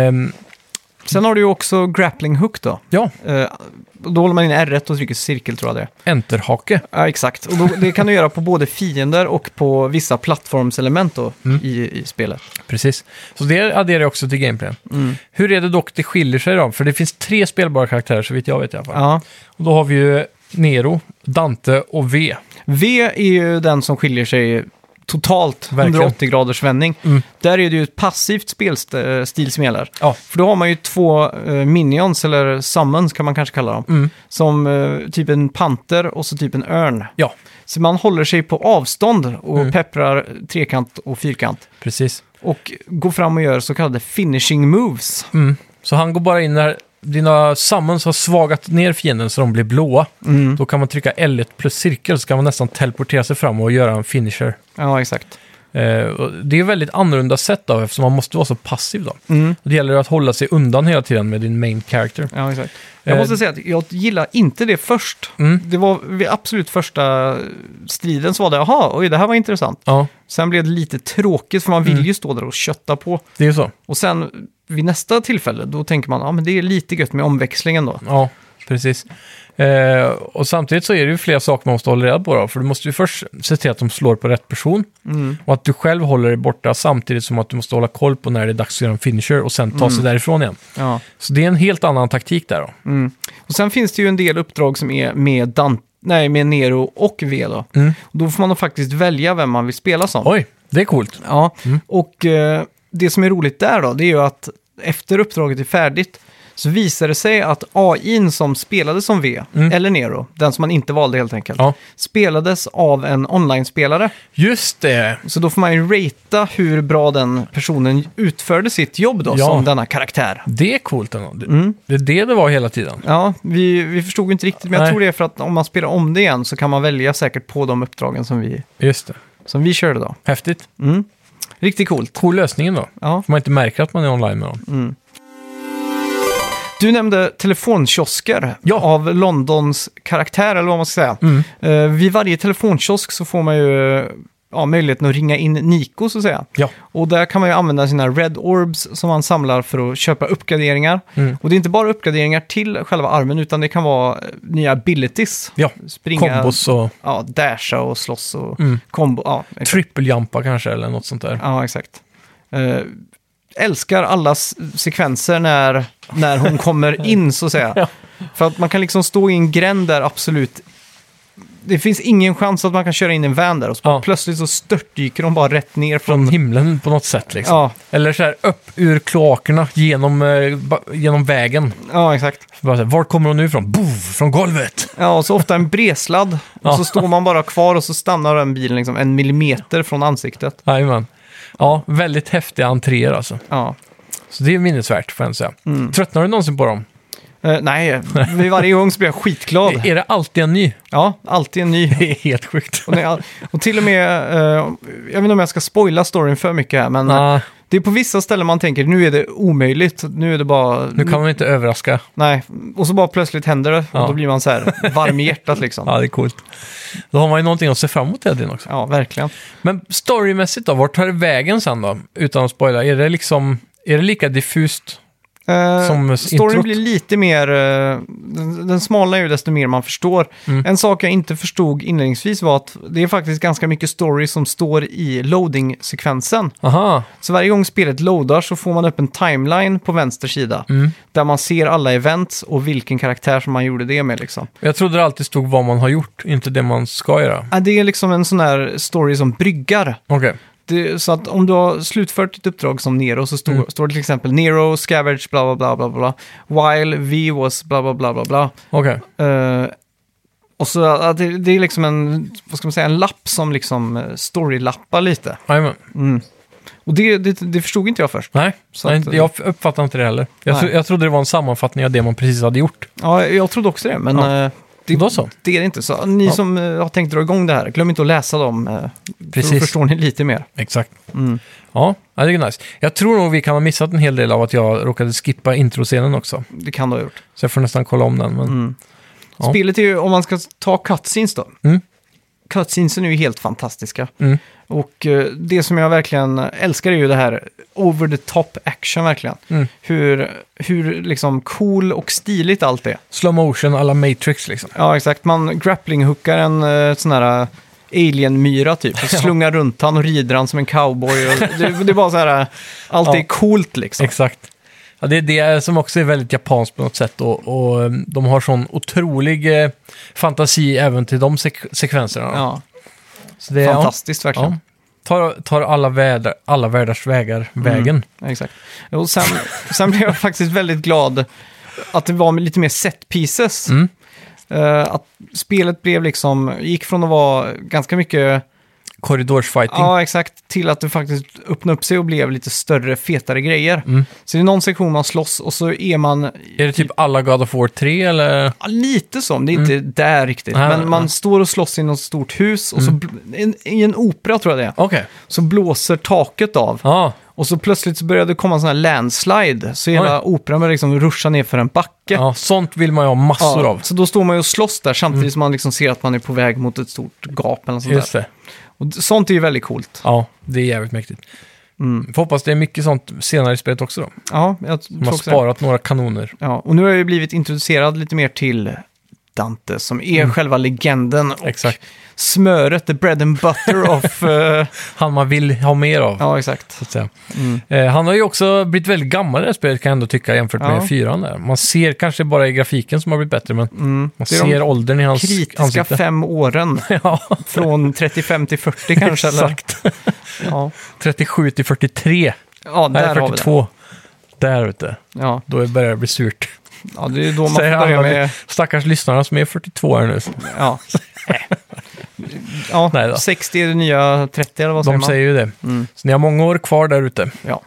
Sen har du ju också grappling hook då.
ja
Eh, Då håller man in R1 och trycker cirkel tror jag det är.
enterhake.
Ja, exakt. Och då, det kan du göra på både fiender och på vissa plattformselement då
Mm.
i, i spelet.
Precis. Så det adderar jag också till gameplayen.
Mm.
Hur är det dock det skiljer sig då? För det finns tre spelbara karaktärer så vitt jag vet i alla fall.
Ja.
Och då har vi ju Nero, Dante och V.
V är ju den som skiljer sig totalt,
Verkligen.
180 graders vändning.
Mm.
Där är det ju ett passivt spelstil som gäller.
Ja.
För då har man ju två eh, minions, eller summons kan man kanske kalla dem.
Mm.
Som eh, typ en panter och så typ en örn.
Ja,
Så man håller sig på avstånd och
Mm.
pepprar trekant och fyrkant.
precis.
Och går fram och gör så kallade finishing moves.
Mm. Så han går bara in där dina summons har svagat ner fienden så de blir blåa, då kan man trycka L1 plus cirkel så kan man nästan teleportera sig fram och göra en finisher.
Ja, exakt.
Eh, och det är ett väldigt annorlunda sätt då, eftersom man måste vara så passiv då. Det gäller att hålla sig undan hela tiden med din main character.
Ja, exakt. Jag
Eh,
måste säga att jag gillar inte det först.
Mm.
Det var vid absolut första striden så var det, jaha, oj, det här var intressant.
Ja,
Sen blev det lite tråkigt för man
Mm.
vill ju stå där och kötta på.
det är ju så.
Och sen vid nästa tillfälle, då tänker man, ja men det är lite gött med omväxlingen då.
Ja, precis. Eh, och samtidigt så är det ju flera saker man måste hålla reda på då, för du måste ju först se till att de slår på rätt person och att du själv håller dig borta samtidigt som att du måste hålla koll på när det är dags att göra en finisher och sen ta sig därifrån igen.
Ja.
Så det är en helt annan taktik där då.
Mm. Och sen finns det ju en del uppdrag som är med, Dan- nej, med Nero och V då. Och då får man då faktiskt välja vem man vill spela som.
Mm. Oj, det är coolt.
Ja,
Mm.
och eh, det som är roligt där då, det är ju att efter uppdraget är färdigt så visar det sig att AIn som spelade som V, eller Nero, den som man inte valde helt enkelt,
Mm. Ja.
spelades av en online-spelare.
Just det!
Så då får man ju ratea hur bra den personen utförde sitt jobb då,
Ja.
som denna karaktär.
Det är coolt ändå. Det, det är det det var hela tiden.
Ja, vi, vi förstod ju inte riktigt, men jag
Nej.
tror det är för att om man spelar om det igen så kan man välja säkert på de uppdragen som vi,
Just det.
som vi körde då.
Häftigt.
Riktigt coolt.
Cool lösningen då.
Ja.
För man inte märker att man är online med dem.
Du nämnde telefonkiosker
Ja. Mm.
av Londons karaktär, eller vad man ska säga. Eh, vid varje telefonkiosk så får man ju eh, ja, möjligheten att ringa in Nico, så att säga.
Ja.
Och där kan man ju använda sina Red Orbs som man samlar för att köpa uppgraderingar.
Mm.
Och det är inte bara uppgraderingar till själva armen, utan det kan vara eh, nya abilities.
Ja.
Springa,
Kombos och
Ja, dasha och slåss och
Mm.
kombo. Ja, exakt.
trippeljampa kanske eller något sånt där.
Ja, exakt. Eh, älskar alla s- sekvenser när, när hon kommer in, så att säga.
Ja.
För att man kan liksom stå i en gränd där absolut... Det finns ingen chans att man kan köra in en van där och så bara
Ja.
plötsligt så störtdyker de bara rätt ner
Från
från...
himlen på något sätt liksom.
Ja,
Eller så här upp ur kloakerna genom, eh, ba- genom vägen.
ja, exakt.
Bara så här, var kommer hon nu ifrån? Boof, från golvet!
Ja, och så ofta en bresladd. Och
Ja.
så står man bara kvar och så stannar den bilen liksom en millimeter från ansiktet.
Jajamän. Ja, väldigt häftiga entréer alltså.
Ja.
Så det är minnesvärt får jag ändå säga. Tröttnar du någonsin på dem?
Eh, nej, vid varje gång så blir jag skitglad.
Är det alltid en ny?
Ja, alltid en ny.
Det är helt sjukt.
Och, när jag, och till och med, eh, jag vet inte om jag ska spoila storyn för mycket här, men
Ah,
det är på vissa ställen man tänker nu är det omöjligt, nu är det bara...
nu kan man inte överraska.
Nej, och så bara plötsligt händer det och
Ja.
då blir man så här varm i hjärtat liksom.
Ja, det är coolt. Då har man ju någonting att se fram emot hela tiden också.
Ja, verkligen.
Men storymässigt då, vart tar det vägen sen då? Utan att spoila, är det liksom, är det lika diffust?
Eh,
Som
storyn
introt.
blir lite mer, eh, den, den smalnar ju desto mer man förstår.
Mm.
En sak jag inte förstod inledningsvis var att det är faktiskt ganska mycket story som står i loading-sekvensen.
Aha,
Så varje gång spelet loadar så får man upp en timeline på vänster sida.
Mm.
Där man ser alla events och vilken karaktär som man gjorde det med liksom.
jag trodde det alltid stod vad man har gjort, inte det man ska göra.
Ja, Det är liksom en sån här story som bryggar.
Okej,
Det, så att om du har slutfört ditt uppdrag som Nero så står,
Mm.
står det till exempel Nero, Scavenge, bla bla bla bla bla. While V was bla bla bla bla bla.
okej.
Eh, och så ja, det, det är liksom en, vad ska man säga, en lapp som liksom eh, storylappar lite.
Jajamän.
Och det, det, det förstod inte jag först.
Nej,
Så
nej
att- eh,
jag uppfattar inte det heller. Jag,
Nej.
tro, jag trodde det var en sammanfattning av det man precis hade gjort.
Ja, jag trodde också det, men
Ja.
eh, det,
Då så.
det är det inte. Så ni
Ja.
som eh, har tänkt dra igång det här, glöm inte att läsa dem. eh, För då
Precis.
förstår ni lite mer.
Exakt.
Mm.
Ja, ja, det är nice. Jag tror nog vi kan ha missat en hel del av att jag råkade skippa introscenen också.
Det kan du ha gjort.
Så jag får nästan kolla om den. Men...
Mm.
Ja.
Spelet är ju, om man ska ta cutscenes då.
Mm.
Cutscenesen är ju helt fantastiska.
Mm.
Och eh, det som jag verkligen älskar är ju det här over the top action verkligen.
Mm.
Hur, hur liksom cool och stiligt allt är.
Slow motion alla Matrix liksom.
Ja, exakt. Man grappling-hookar en eh, sån här eh, alien-myra typ. Och slungar runt han och rider han som en cowboy. Och det, det är bara så här, eh, allt
Ja.
är coolt liksom.
Exakt. Ja, det är det som också är väldigt japanskt på något sätt och, och eh, de har sån otrolig eh, fantasi även till de sek- sekvenserna.
Ja,
Så det är,
fantastiskt verkligen.
Ja. Tar, tar alla, väder, alla världars vägar vägen.
Ja, Exakt. Och sen, sen blev jag faktiskt väldigt glad att det var med lite mer set pieces.
Mm.
Eh, att spelet blev liksom, gick från att vara ganska mycket
korridorsfighting.
Ja, exakt. Till att det faktiskt öppnade upp sig och blev lite större, fetare grejer.
Mm.
Så det är någon sektion man slåss och så är man
Är det typ alla God of War 3 eller?
Ja, lite som, det är inte där riktigt.
Mm. Nej,
men
nej,
man
nej. Mm.
står och slåss i något stort hus och så, bl- en, i en opera tror jag det är,
Okej.
så blåser taket av.
Ja,
Och så plötsligt så börjar det komma sån här landslide, så hela operan börjar liksom ruscha ner för en backe.
ja, sånt vill man ju ha massor
Ja,
av. Mm.
så då står man ju och slåss där samtidigt som man liksom ser att man är på väg mot ett stort gap eller något sånt
Just
där.
det.
Och d- sånt är ju väldigt coolt.
Ja, det är jävligt mäktigt.
Mm.
Får hoppas det är mycket sånt senare i spelet också då.
Ja,
De
jag tror
har
också det.
sparat några kanoner.
Ja, och nu har jag ju blivit introducerad lite mer till Dante som är själva legenden och
Mm. Exakt.
smöret, the bread and butter of... eh,
Han man vill ha mer av.
ja, Mm. exakt.
Så att säga. Eh, han har ju också blivit väldigt gammal i det här spelet kan jag ändå tycka jämfört med
Ja.
fyran där. Man ser kanske bara i grafiken som har blivit bättre men man
Mm. Det är de
ser åldern i hans
Kritiska
ansikte.
fem åren,
ja,
från 35 till 40 kanske. eller?
exakt.
Ja,
37 till 43.
ja
Nej,
där har vi det.
42. Där ute.
Ja.
Då börjar det bli surt.
ja, det är då man får
Säger
börja
alla
med...
stackars lyssnarna som är 42 här nu.
Ja. ja,
Nej då.
60 är det nya 30 eller vad
De
säger man? Mm.
säger Mm. ju det. Så ni har många år kvar där ute.
Ja.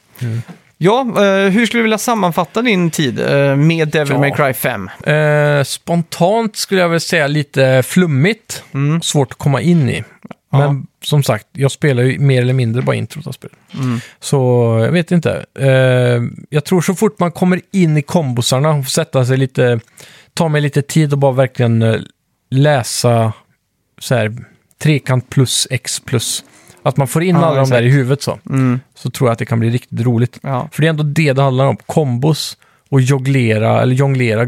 Ja, eh, hur skulle du vilja sammanfatta din tid eh, med Devil
Ja.
May Cry 5?
Eh, spontant skulle jag väl säga lite flummigt.
Mm,
Svårt att komma in i. Men som sagt, jag spelar ju mer eller mindre bara introt av spelet.
mm,
Så jag vet inte. Eh, jag tror så fort man kommer in i kombosarna och får sätta sig lite, ta mig lite tid och bara verkligen eh, läsa så här trekant plus x plus. Att man får in
Ja,
alla de där
exakt.
i huvudet så. Så tror jag att det kan bli riktigt roligt.
mm. Ja.
För det är ändå det det handlar om. Kombos och jonglera, eller jonglera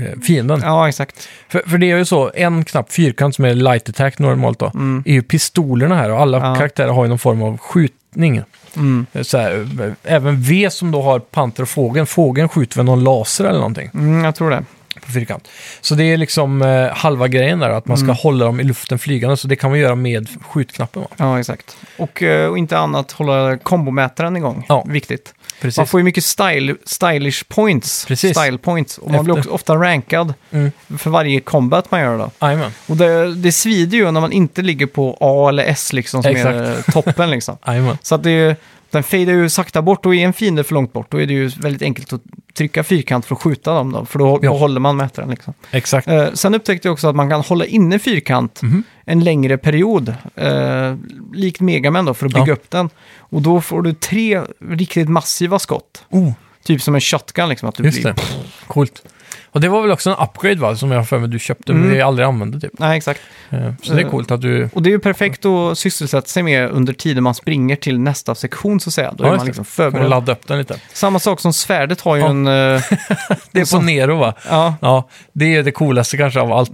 eh, fienden.
ja, exakt.
För, för det är ju så, en knapp fyrkant som är light attack normalt då, är ju pistolerna här och alla
Mm. Ja.
karaktärer har ju någon form av skjutning.
Mm.
Eh, Så här, eh, även V som då har panter och fågeln, fågeln skjuter väl någon laser eller någonting
Mm, jag tror det.
på fyrkant. Så det är liksom eh, halva grejen där, att man
Mm.
ska hålla dem i luften flygande, så det kan man göra med skjutknappen. Va?
Ja, exakt. Och, eh, och inte annat, hålla kombomätaren igång.
Ja.
Viktigt.
Precis.
Man får ju mycket style, stylish points.
Precis.
Style points. Och man blir
Efter.
också ofta rankad
Mm.
för varje combat man gör då.
Jajamän.
Och det, det svider ju när man inte ligger på A eller S liksom, som är
Exakt.
toppen liksom.
Jajamän.
Så att det är, den fejdar ju sakta bort och är en fiende för långt bort då är det ju väldigt enkelt att trycka fyrkant för att skjuta dem då, för då,
Ja.
då håller man mätaren liksom.
Exakt.
Eh, sen upptäckte jag också att man kan hålla inne fyrkant
Mm. Mhm.
en längre period, eh, likt Megaman då, för att bygga
Ja.
upp den. Och då får du tre riktigt massiva skott,
Oh,
typ som en shotgun liksom. Att du
just
blir...
det. Coolt. Och det var väl också en upgrade va, som jag har för mig du köpte, men
Mm.
vi aldrig använde typ.
Nej, exakt.
Eh, Så det är
Eh.
coolt att du
Och det är ju perfekt att sysselsätta sig med under tiden man springer till nästa sektion så att säga. Då
Ja,
är
just
man
det.
liksom
kommer
förberedd.
ladda upp den lite.
Samma sak som svärdet har ju
Ja.
en... eh,
Det är på Nero va?
ja,
Ja, det är det coolaste kanske av allt.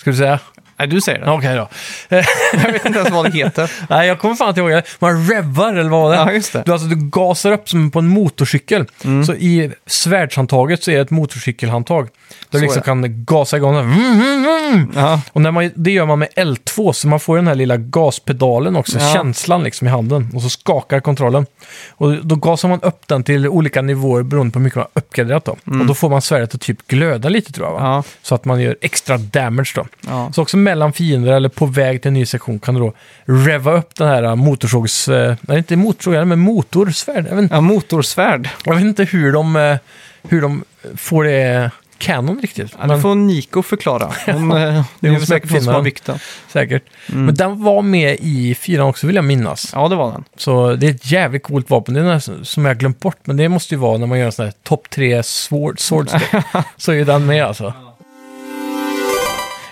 Ska du säga?
nej du säger det.
Ja, Okej då.
Jag vet inte ens vad det heter.
Nej, jag kommer fan inte ihåg det. Man revvar eller vad var det?
Ja, just det.
Du, alltså, du gasar upp som på en motorcykel. Så i svärdshandtaget så är det ett motorcykelhandtag. Där
Så
du liksom
är det.
kan gasa igång den. här. Mm, mm, mm.
Ja,
Och när man, det gör man med L2, så man får den här lilla gaspedalen också,
Ja.
känslan liksom i handen. Och så skakar kontrollen. Och då gasar man upp den till olika nivåer beroende på hur mycket man har uppgraderat då. Och då får man svärdet att typ glöda lite tror jag va?
Mm. ja,
Så att man gör extra damage då.
ja.
Så också mellan fiender eller på väg till en ny sektion kan du då reva upp den här äh, motorsågs... eh, Nej, inte motorsåg, men motorsvärd. Jag vet,
ja motorsvärd.
jag vet inte hur de, eh, hur de får det äh, canon riktigt.
Ja, det
men
får Niko förklara. Hon, eh, det är
hon
ju
som
säkert hon som
uppfinner
har
den.
byggt den.
säkert.
Mm.
Men den var med i fyran också vill jag minnas.
Ja, det var den.
Så det är ett jävligt coolt vapen. Det är nästan, som jag har glömt bort, men det måste ju vara när man gör en sån här topp 3 sword, swordstick. så är ju den med alltså.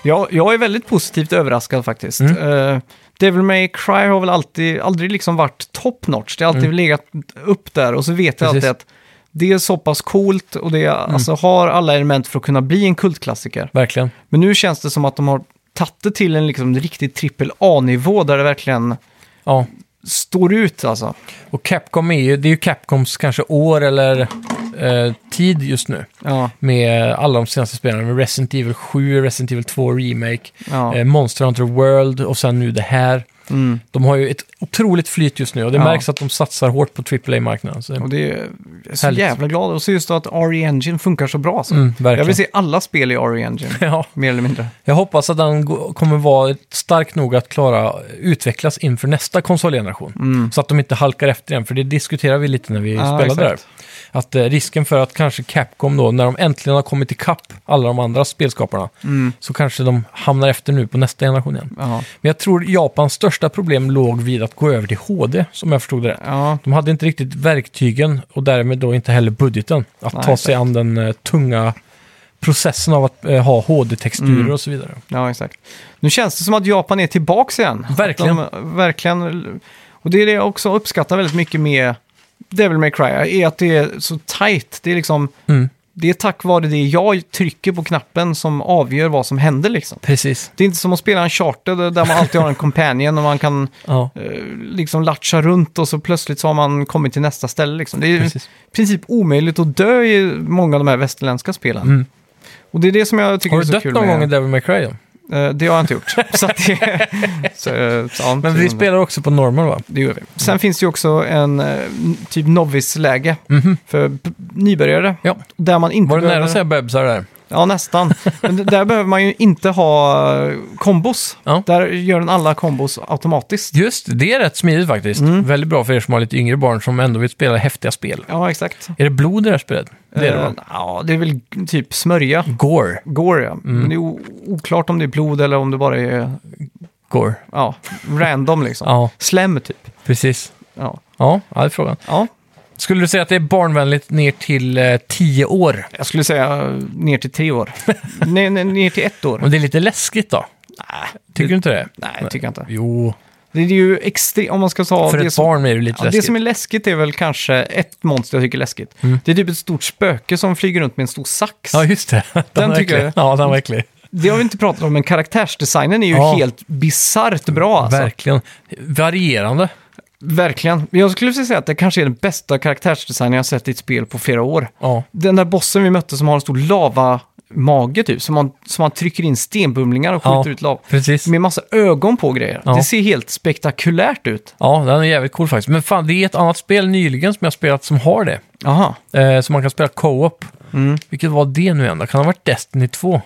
Ja, jag är väldigt positivt överraskad faktiskt.
Mm.
Eh, Devil May Cry har väl alltid, aldrig liksom varit top notch. Det har alltid legat upp där och så vet jag
Mm. Precis. Mm.
alltid att det är så pass coolt och det alltså, har alla element för att kunna bli en kultklassiker.
Verkligen.
Men nu känns det som att de har tagit det till en liksom, riktig trippel A-nivå där det verkligen
Ja.
står ut alltså.
Och Capcom är ju, det är ju Capcoms kanske år eller eh, tid just nu.
Ja,
Med alla de senaste spelarna, med Resident Evil 7, Resident Evil 2 Remake,
ja.
eh, Monster Hunter World och sen nu det här.
Mm.
De har ju ett otroligt flyt just nu och det
Ja.
märks att de satsar hårt på AAA-marknaden. Så,
Och det är, jag är så
Härligt.
jävla glad att se just att RE Engine funkar så bra. Så.
mm, verkligen.
jag vill se alla spel i RE Engine,
Ja,
mer eller mindre.
jag hoppas att den go- kommer vara stark nog att klara utvecklas inför nästa konsolgeneration.
Mm.
Så att de inte halkar efter igen, för det diskuterar vi lite när vi
Ja,
spelade där.
exakt.
Att eh, risken för att kanske Capcom då, när de äntligen har kommit ikapp alla de andra spelskaparna,
Mm.
så kanske de hamnar efter nu på nästa generation igen.
Ja.
Men jag tror Japans största problem låg vid att gå över till HD, som jag förstod det rätt.
Ja.
De hade inte riktigt verktygen och därmed då inte heller budgeten att
Nej,
ta sig an den eh, tunga processen av att eh, ha HD-texturer och så vidare.
ja, exakt. Nu känns det som att Japan är tillbaks igen.
Verkligen.
Att De, eh, verkligen. Och det är det jag också uppskattar väldigt mycket med Devil May Cry, är att det är så tajt. Det är liksom...
Mm.
Det är tack vare det jag trycker på knappen som avgör vad som händer liksom.
Precis.
Det är inte som att spela en charter där man alltid har en companion och man kan
Ja,
eh, liksom latcha runt och så plötsligt så har man kommit till nästa ställe liksom. Det är ju i
precis.
princip omöjligt att dö i många av de här västerländska spelen.
Mm.
Och det är det som jag tycker
Har du
är så
dött
kul
någon
med...
gång i Devil May Cry? Då?
Eh, det har jag inte gjort. så att det... så, eh, så, ja,
Men
så-
vi spelar också på normal va?
Det gör vi. Sen finns det ju också en eh, n- typ novice-läge
Mhm.
för b- nybörjare.
Ja.
Där man inte
Var det nära
behöver-
att säga bebisar där?
Ja, nästan. Men d- där behöver man ju inte ha eh, kombos.
Ja.
Där gör den alla kombos automatiskt.
Just det, det är rätt smidigt faktiskt. Väldigt bra för er som har lite yngre barn som ändå vill spela häftiga spel.
Ja, exakt.
Är det blod i det här spelet? Det är det
Eh,
va?
Ja, det är väl typ smörja.
Gore.
Går ja.
Mm.
Men det är o- oklart om det är blod eller om det bara är
Gore.
ja, random liksom.
Ja,
Slem typ.
precis.
Ja.
Ja, ja, det är frågan.
ja,
Skulle du säga att det är barnvänligt ner till eh, 10 år?
jag skulle säga eh, ner till tre år. ner, ner, ner till ett år.
Och det är lite läskigt då?
Nej,
Tycker du inte det?
nej, tycker jag inte.
Jo,
Det är ju extremt, om man ska ta
för
det
ett
som...
barn är det lite
Ja, det
läskigt. Mm.
som är läskigt är väl kanske ett monster jag tycker är läskigt. Det är typ ett stort spöke som flyger runt med en stor sax.
Ja, just det. Den,
Den
var
tycker
äcklig.
jag-
Ja, den var äcklig.
Det har vi inte pratat om, men karaktärsdesignen är ju
Ja.
helt bisarrt bra. Alltså.
Verkligen. Varierande.
Verkligen. Men Jag skulle säga att det kanske är den bästa karaktärsdesignen jag har sett i ett spel på flera år.
Ja,
Den där bossen vi mötte som har en stor lavamage typ, som man, som man trycker in stenbumlingar och skjuter
Ja.
ut lava.
precis.
Med massa ögon på och grejer.
Ja.
Det ser helt spektakulärt ut.
Ja, den är jävligt cool faktiskt. Men fan, det är ett annat spel nyligen som jag spelat som har det.
Jaha,
Eh, som man kan spela co-op.
Mm.
Vilket var det nu igen då? Kan det ha varit Destiny 2?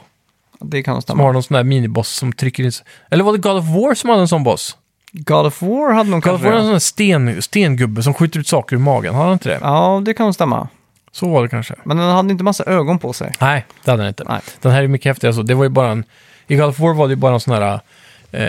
det kan nog
Som
stämma.
har någon sån där miniboss som trycker in... Eller var det God of War som hade en sån boss?
God of War hade nog
God of
kanske
War är en
det.
sån där sten, stengubbe som skjuter ut saker ur magen. Har han inte det?
Ja, det kan nog stämma.
Så var det kanske.
Men den hade inte massa ögon på sig.
Nej, det hade den inte.
Nej.
Den här är mycket häftigare. Så det var ju bara en... I God of War var det ju bara en sån här... Eh,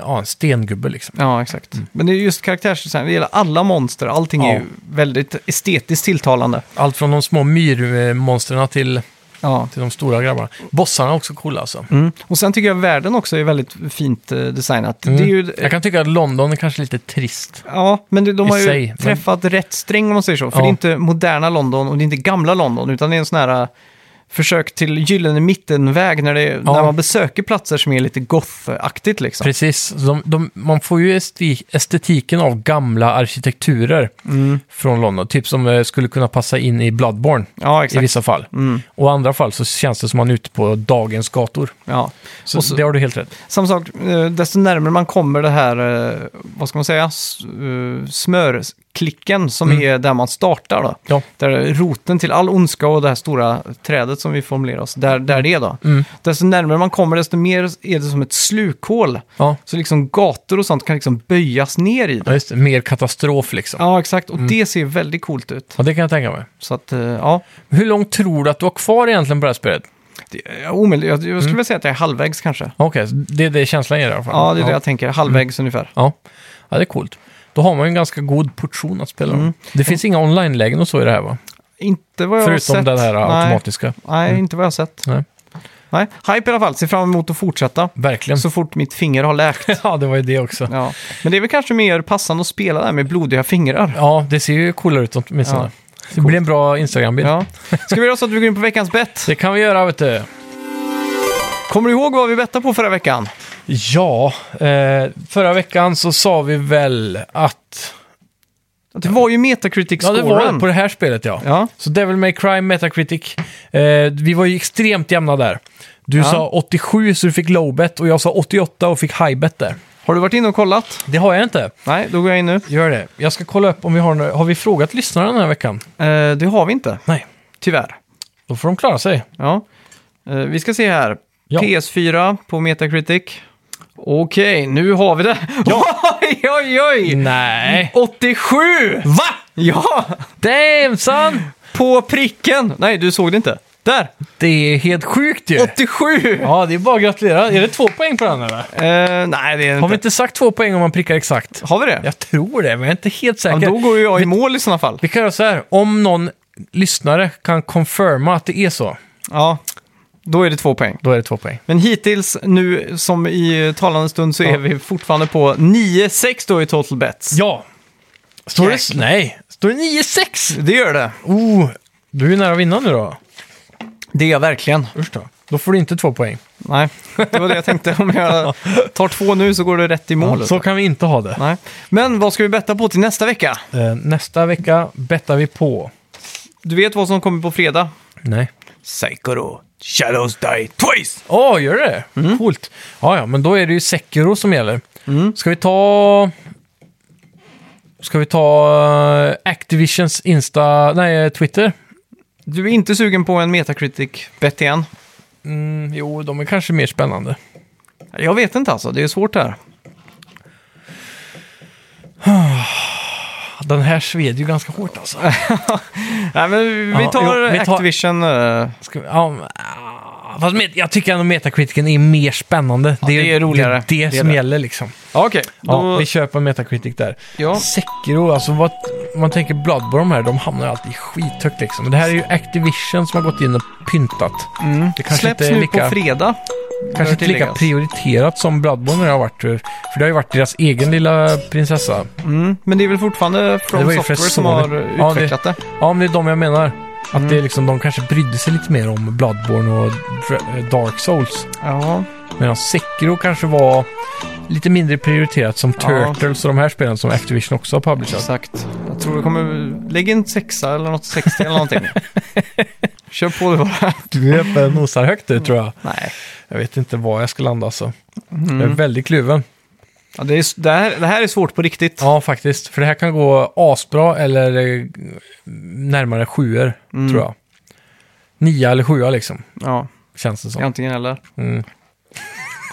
ja, en stengubbe liksom.
Ja, exakt. Mm. Men det är just karaktärsdesign, det gäller alla monster. Allting är
Ja.
ju väldigt estetiskt tilltalande.
Allt från de små myrmonstren till,
Ja.
till de stora grabbarna. Bossarna är också coola alltså.
Mm. Och sen tycker jag världen också är väldigt fint eh, designat.
Mm.
Det är ju,
Jag kan tycka att London är kanske lite trist.
Ja, men det- de
I
har ju
sig, men-
träffat rätt sträng om man säger så. För
Ja.
det är inte moderna London och det är inte gamla London, utan det är en sån här eh, försök till gyllene mittenväg när, det,
Ja.
när man besöker platser som är lite goth-aktigt liksom.
Precis, Så de, de, man får ju esti- estetiken av gamla arkitekturer
Mm.
från London. Typ som eh, skulle kunna passa in i Bloodborne
Ja,
i
exakt.
vissa fall.
Mm.
Och i andra fall så känns det som man är ute på dagens gator.
Ja.
Så,
Och så-
det har du helt rätt.
Samma sak, eh, desto närmare man kommer det här, eh, vad ska man säga, s- eh, smörklicken som
Mm.
är där man startar då.
Ja.
Där är roten till all ondska och det här stora trädet som vi formulerar oss, där, där det är då.
Mm.
Desto närmare man kommer, desto mer är det som ett slukhål.
Ja.
Så liksom gator och sånt kan liksom böjas ner i Mm.
Ja,
det.
just det. Mer katastrof liksom. Ja.
Ja, exakt. Och det ser väldigt coolt ut.
det kan jag tänka mig.
Så att, eh, ja.
Hur långt tror du att du har kvar egentligen på det här spelet?
Det är omöjligt. Jag jag skulle vilja säga att jag är halvvägs kanske.
Okej, så det är det känslan är i alla fall.
Ja, Mm. det är det
ja.
jag tänker. Halvvägs ungefär.
Ja. ja, det är coolt. Då har man ju en ganska god portion att spela
Mm.
om. Det finns inga online-lägen och så i det här va?
Inte vad jag har
Förutom
sett.
den här
Nej.
automatiska.
Nej, inte vad jag har sett.
Nej.
Mm. Nej. Mm. Hype i alla fall. Ser fram emot att fortsätta.
Verkligen.
Så fort mitt finger har läkt.
ja, det var ju det också.
Ja. Men det är väl kanske mer passande att spela där med blodiga fingrar.
Ja, det ser ju coolare ut åtminstone.
Ja.
Det blir en bra Instagram-bild.
Ja. Ska vi göra så att vi går in på veckans bett?
Det kan vi göra, vet du.
Kommer du ihåg vad vi bettade på förra veckan?
Ja, eh, förra veckan så sa vi väl att
Det var ju
Ja, det var
Metacritic-scoren.
det på det här spelet ja.
Ja.
Så Devil May Cry, Metacritic. Eh, vi var ju extremt jämna där. Du
Ja.
sa 87 så du fick low bet och jag sa 88 och fick high bet där.
Har du varit inne och kollat?
Det har jag inte.
Nej, då går jag in nu.
Gör det. Jag ska kolla upp om vi har några- Har vi frågat lyssnarna den här veckan?
Eh, det har vi inte,
Nej.
tyvärr.
Då får de klara sig.
Ja. Eh, vi ska se här.
Ja.
PS4 på Metacritic. Okej, nu har vi det. Oj, oj, oj!
Nej.
87!
Va?
Ja! Mm.
Damn son!
På pricken! Nej, du såg det inte. Där!
Det är helt sjukt ju.
87!
Ja, det är bara att gratulera. Är det två poäng på den eller?
Eh, nej, det är
Har vi
inte.
inte sagt två poäng om man prickar exakt?
Har vi det?
Jag tror det, men jag är inte helt
Ja,
säker.
då går ju jag i mål i sådana fall.
Vi kan göra så här, om någon lyssnare kan confirma att det är så,
Ja, då är det två poäng.
då är det två poäng.
Men hittills nu, som i eh, talande stund, så
Ja.
är vi fortfarande på 9-6 då i total bets.
Ja. Står det,
Jäklar.
nej, står det 9-6?
Det gör det.
Oh, du är ju nära att vinna nu då.
Det är jag verkligen.
Usch då. Då får du inte två poäng.
Nej, det var det jag tänkte. Om jag tar två nu så går det rätt i mål.
Så kan vi inte ha det.
Nej. Men vad ska vi betta på till nästa vecka?
Eh, nästa vecka bettar vi på...
Du vet vad som kommer på fredag?
Nej.
Sekiro Shadows Die Twice!
Åh, gör det? Coolt. Ja, ja, men då är det ju Sekiro som gäller. Ska vi ta... Ska vi ta eh, Activisions Insta... Nej, eh, Twitter?
Du är inte sugen på en Metacritic-bett igen?
Mm, jo, de är kanske mer spännande.
Jag vet inte alltså, det är svårt här.
Den här sved ju ganska hårt alltså.
Nej, men vi
Ja,
tar
jo, vi tar-
Activision. eh,
Ska vi, ja, men, ah, fast met, jag tycker ändå Metacriticen är mer spännande.
det är roligare.
Det, är det,
Det är
som
det.
gäller liksom.
Ja, okej.
Ja,
Då...
vi köper Metacritic där.
Ja.
Sekiro, alltså vad, om man tänker Bloodborne här, de hamnar ju alltid skithögt liksom. Men det här är ju Activision som har gått in och pyntat. mm. Det kanske
Mm. Släpps
inte är
nu
lika,
på fredag. bör
kanske inte lika
tilläggas.
prioriterat som Bloodborne har varit. För det har ju varit deras egen lilla prinsessa.
Mm, men det är väl fortfarande
Det
From
var ju
Software som
Sony.
har
Ja, det-
utvecklat det.
Ja, men det är de jag menar. Att
Mm.
det är liksom, de kanske brydde sig lite mer om Bloodborne och Dr- Dark Souls.
Ja.
Medan Sekiro kanske var lite mindre prioriterat som
Ja.
Turtles och de här spelen som Activision också har publicerat.
Exakt. Jag tror det kommer... Lägg en sexa eller något, 60 eller någonting. Kör på det bara.
Du är uppe och nosar högt du tror jag.
Nej. Mm.
Jag vet inte var jag ska landa alltså. Jag är väldigt kluven.
Ja, det, är, det, här, det här är svårt på riktigt.
Ja, faktiskt. För det här kan gå asbra eller eh, närmare sjuor, tror jag. Nia eller sjua liksom,
Ja,
känns det som.
antingen eller.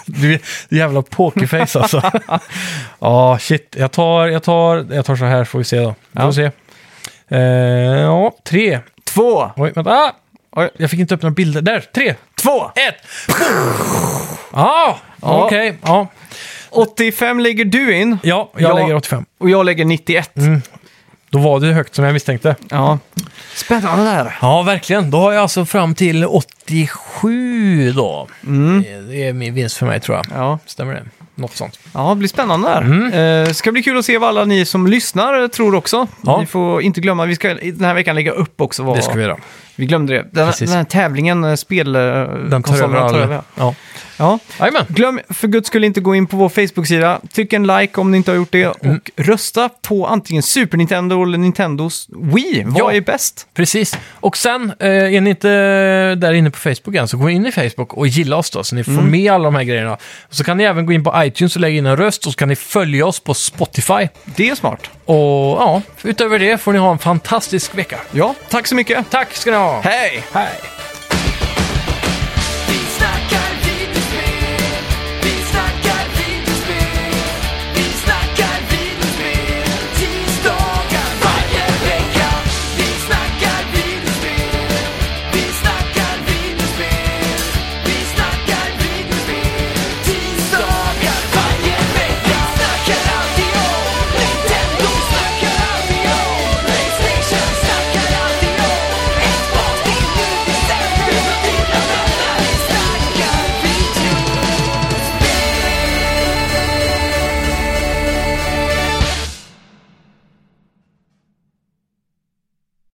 Du är jävla pokerface alltså. Ja, shit. Jag tar, jag, tar, jag tar så här får vi se då. Vi får
Ja.
se. Eh, ja, tre.
Två!
Oj, vänta. Ah!
Oj.
Jag fick inte upp några bilder. Där, tre,
Två!
ett. ah,
Ja.
okej. Ja,
85 lägger du in
ja, jag
Ja.
lägger 85.
och jag lägger 91.
Mm. Då var det högt som jag misstänkte.
Ja. Spännande där.
Ja, verkligen. Då har jag alltså fram till 87 då. Det- Det är min vinst för mig tror jag.
Ja,
Stämmer det? Något sånt.
ja det blir spännande där.
Mm.
Eh, ska bli kul att se vad alla ni som lyssnar tror också.
Ja.
Ni får inte glömma, vi ska i den här veckan lägga upp också vad...
Det ska vi göra.
Vi glömde det. Den,
Precis.
den här tävlingen, eh, spel... eh,
Den tar över
konsolerna
alla.
ja.
Ja.
Ja.
Jajamän.
Glöm för guds skull inte gå in på vår Facebook-sida. Tryck en like om ni inte har gjort det och rösta på antingen Super Nintendo eller Nintendos Wii. Vad
Ja.
är bäst?
Precis. Och sen, eh, är ni inte där inne på Facebook än, så gå in i Facebook och gilla oss då, så ni får med alla de här grejerna. Och så kan ni även gå in på iTunes och lägga in en röst, och så kan ni följa oss på Spotify.
Det är smart.
Och ja, utöver det får ni ha en fantastisk vecka.
Ja, tack så mycket.
Tack ska ni ha!
Hej!
Hej.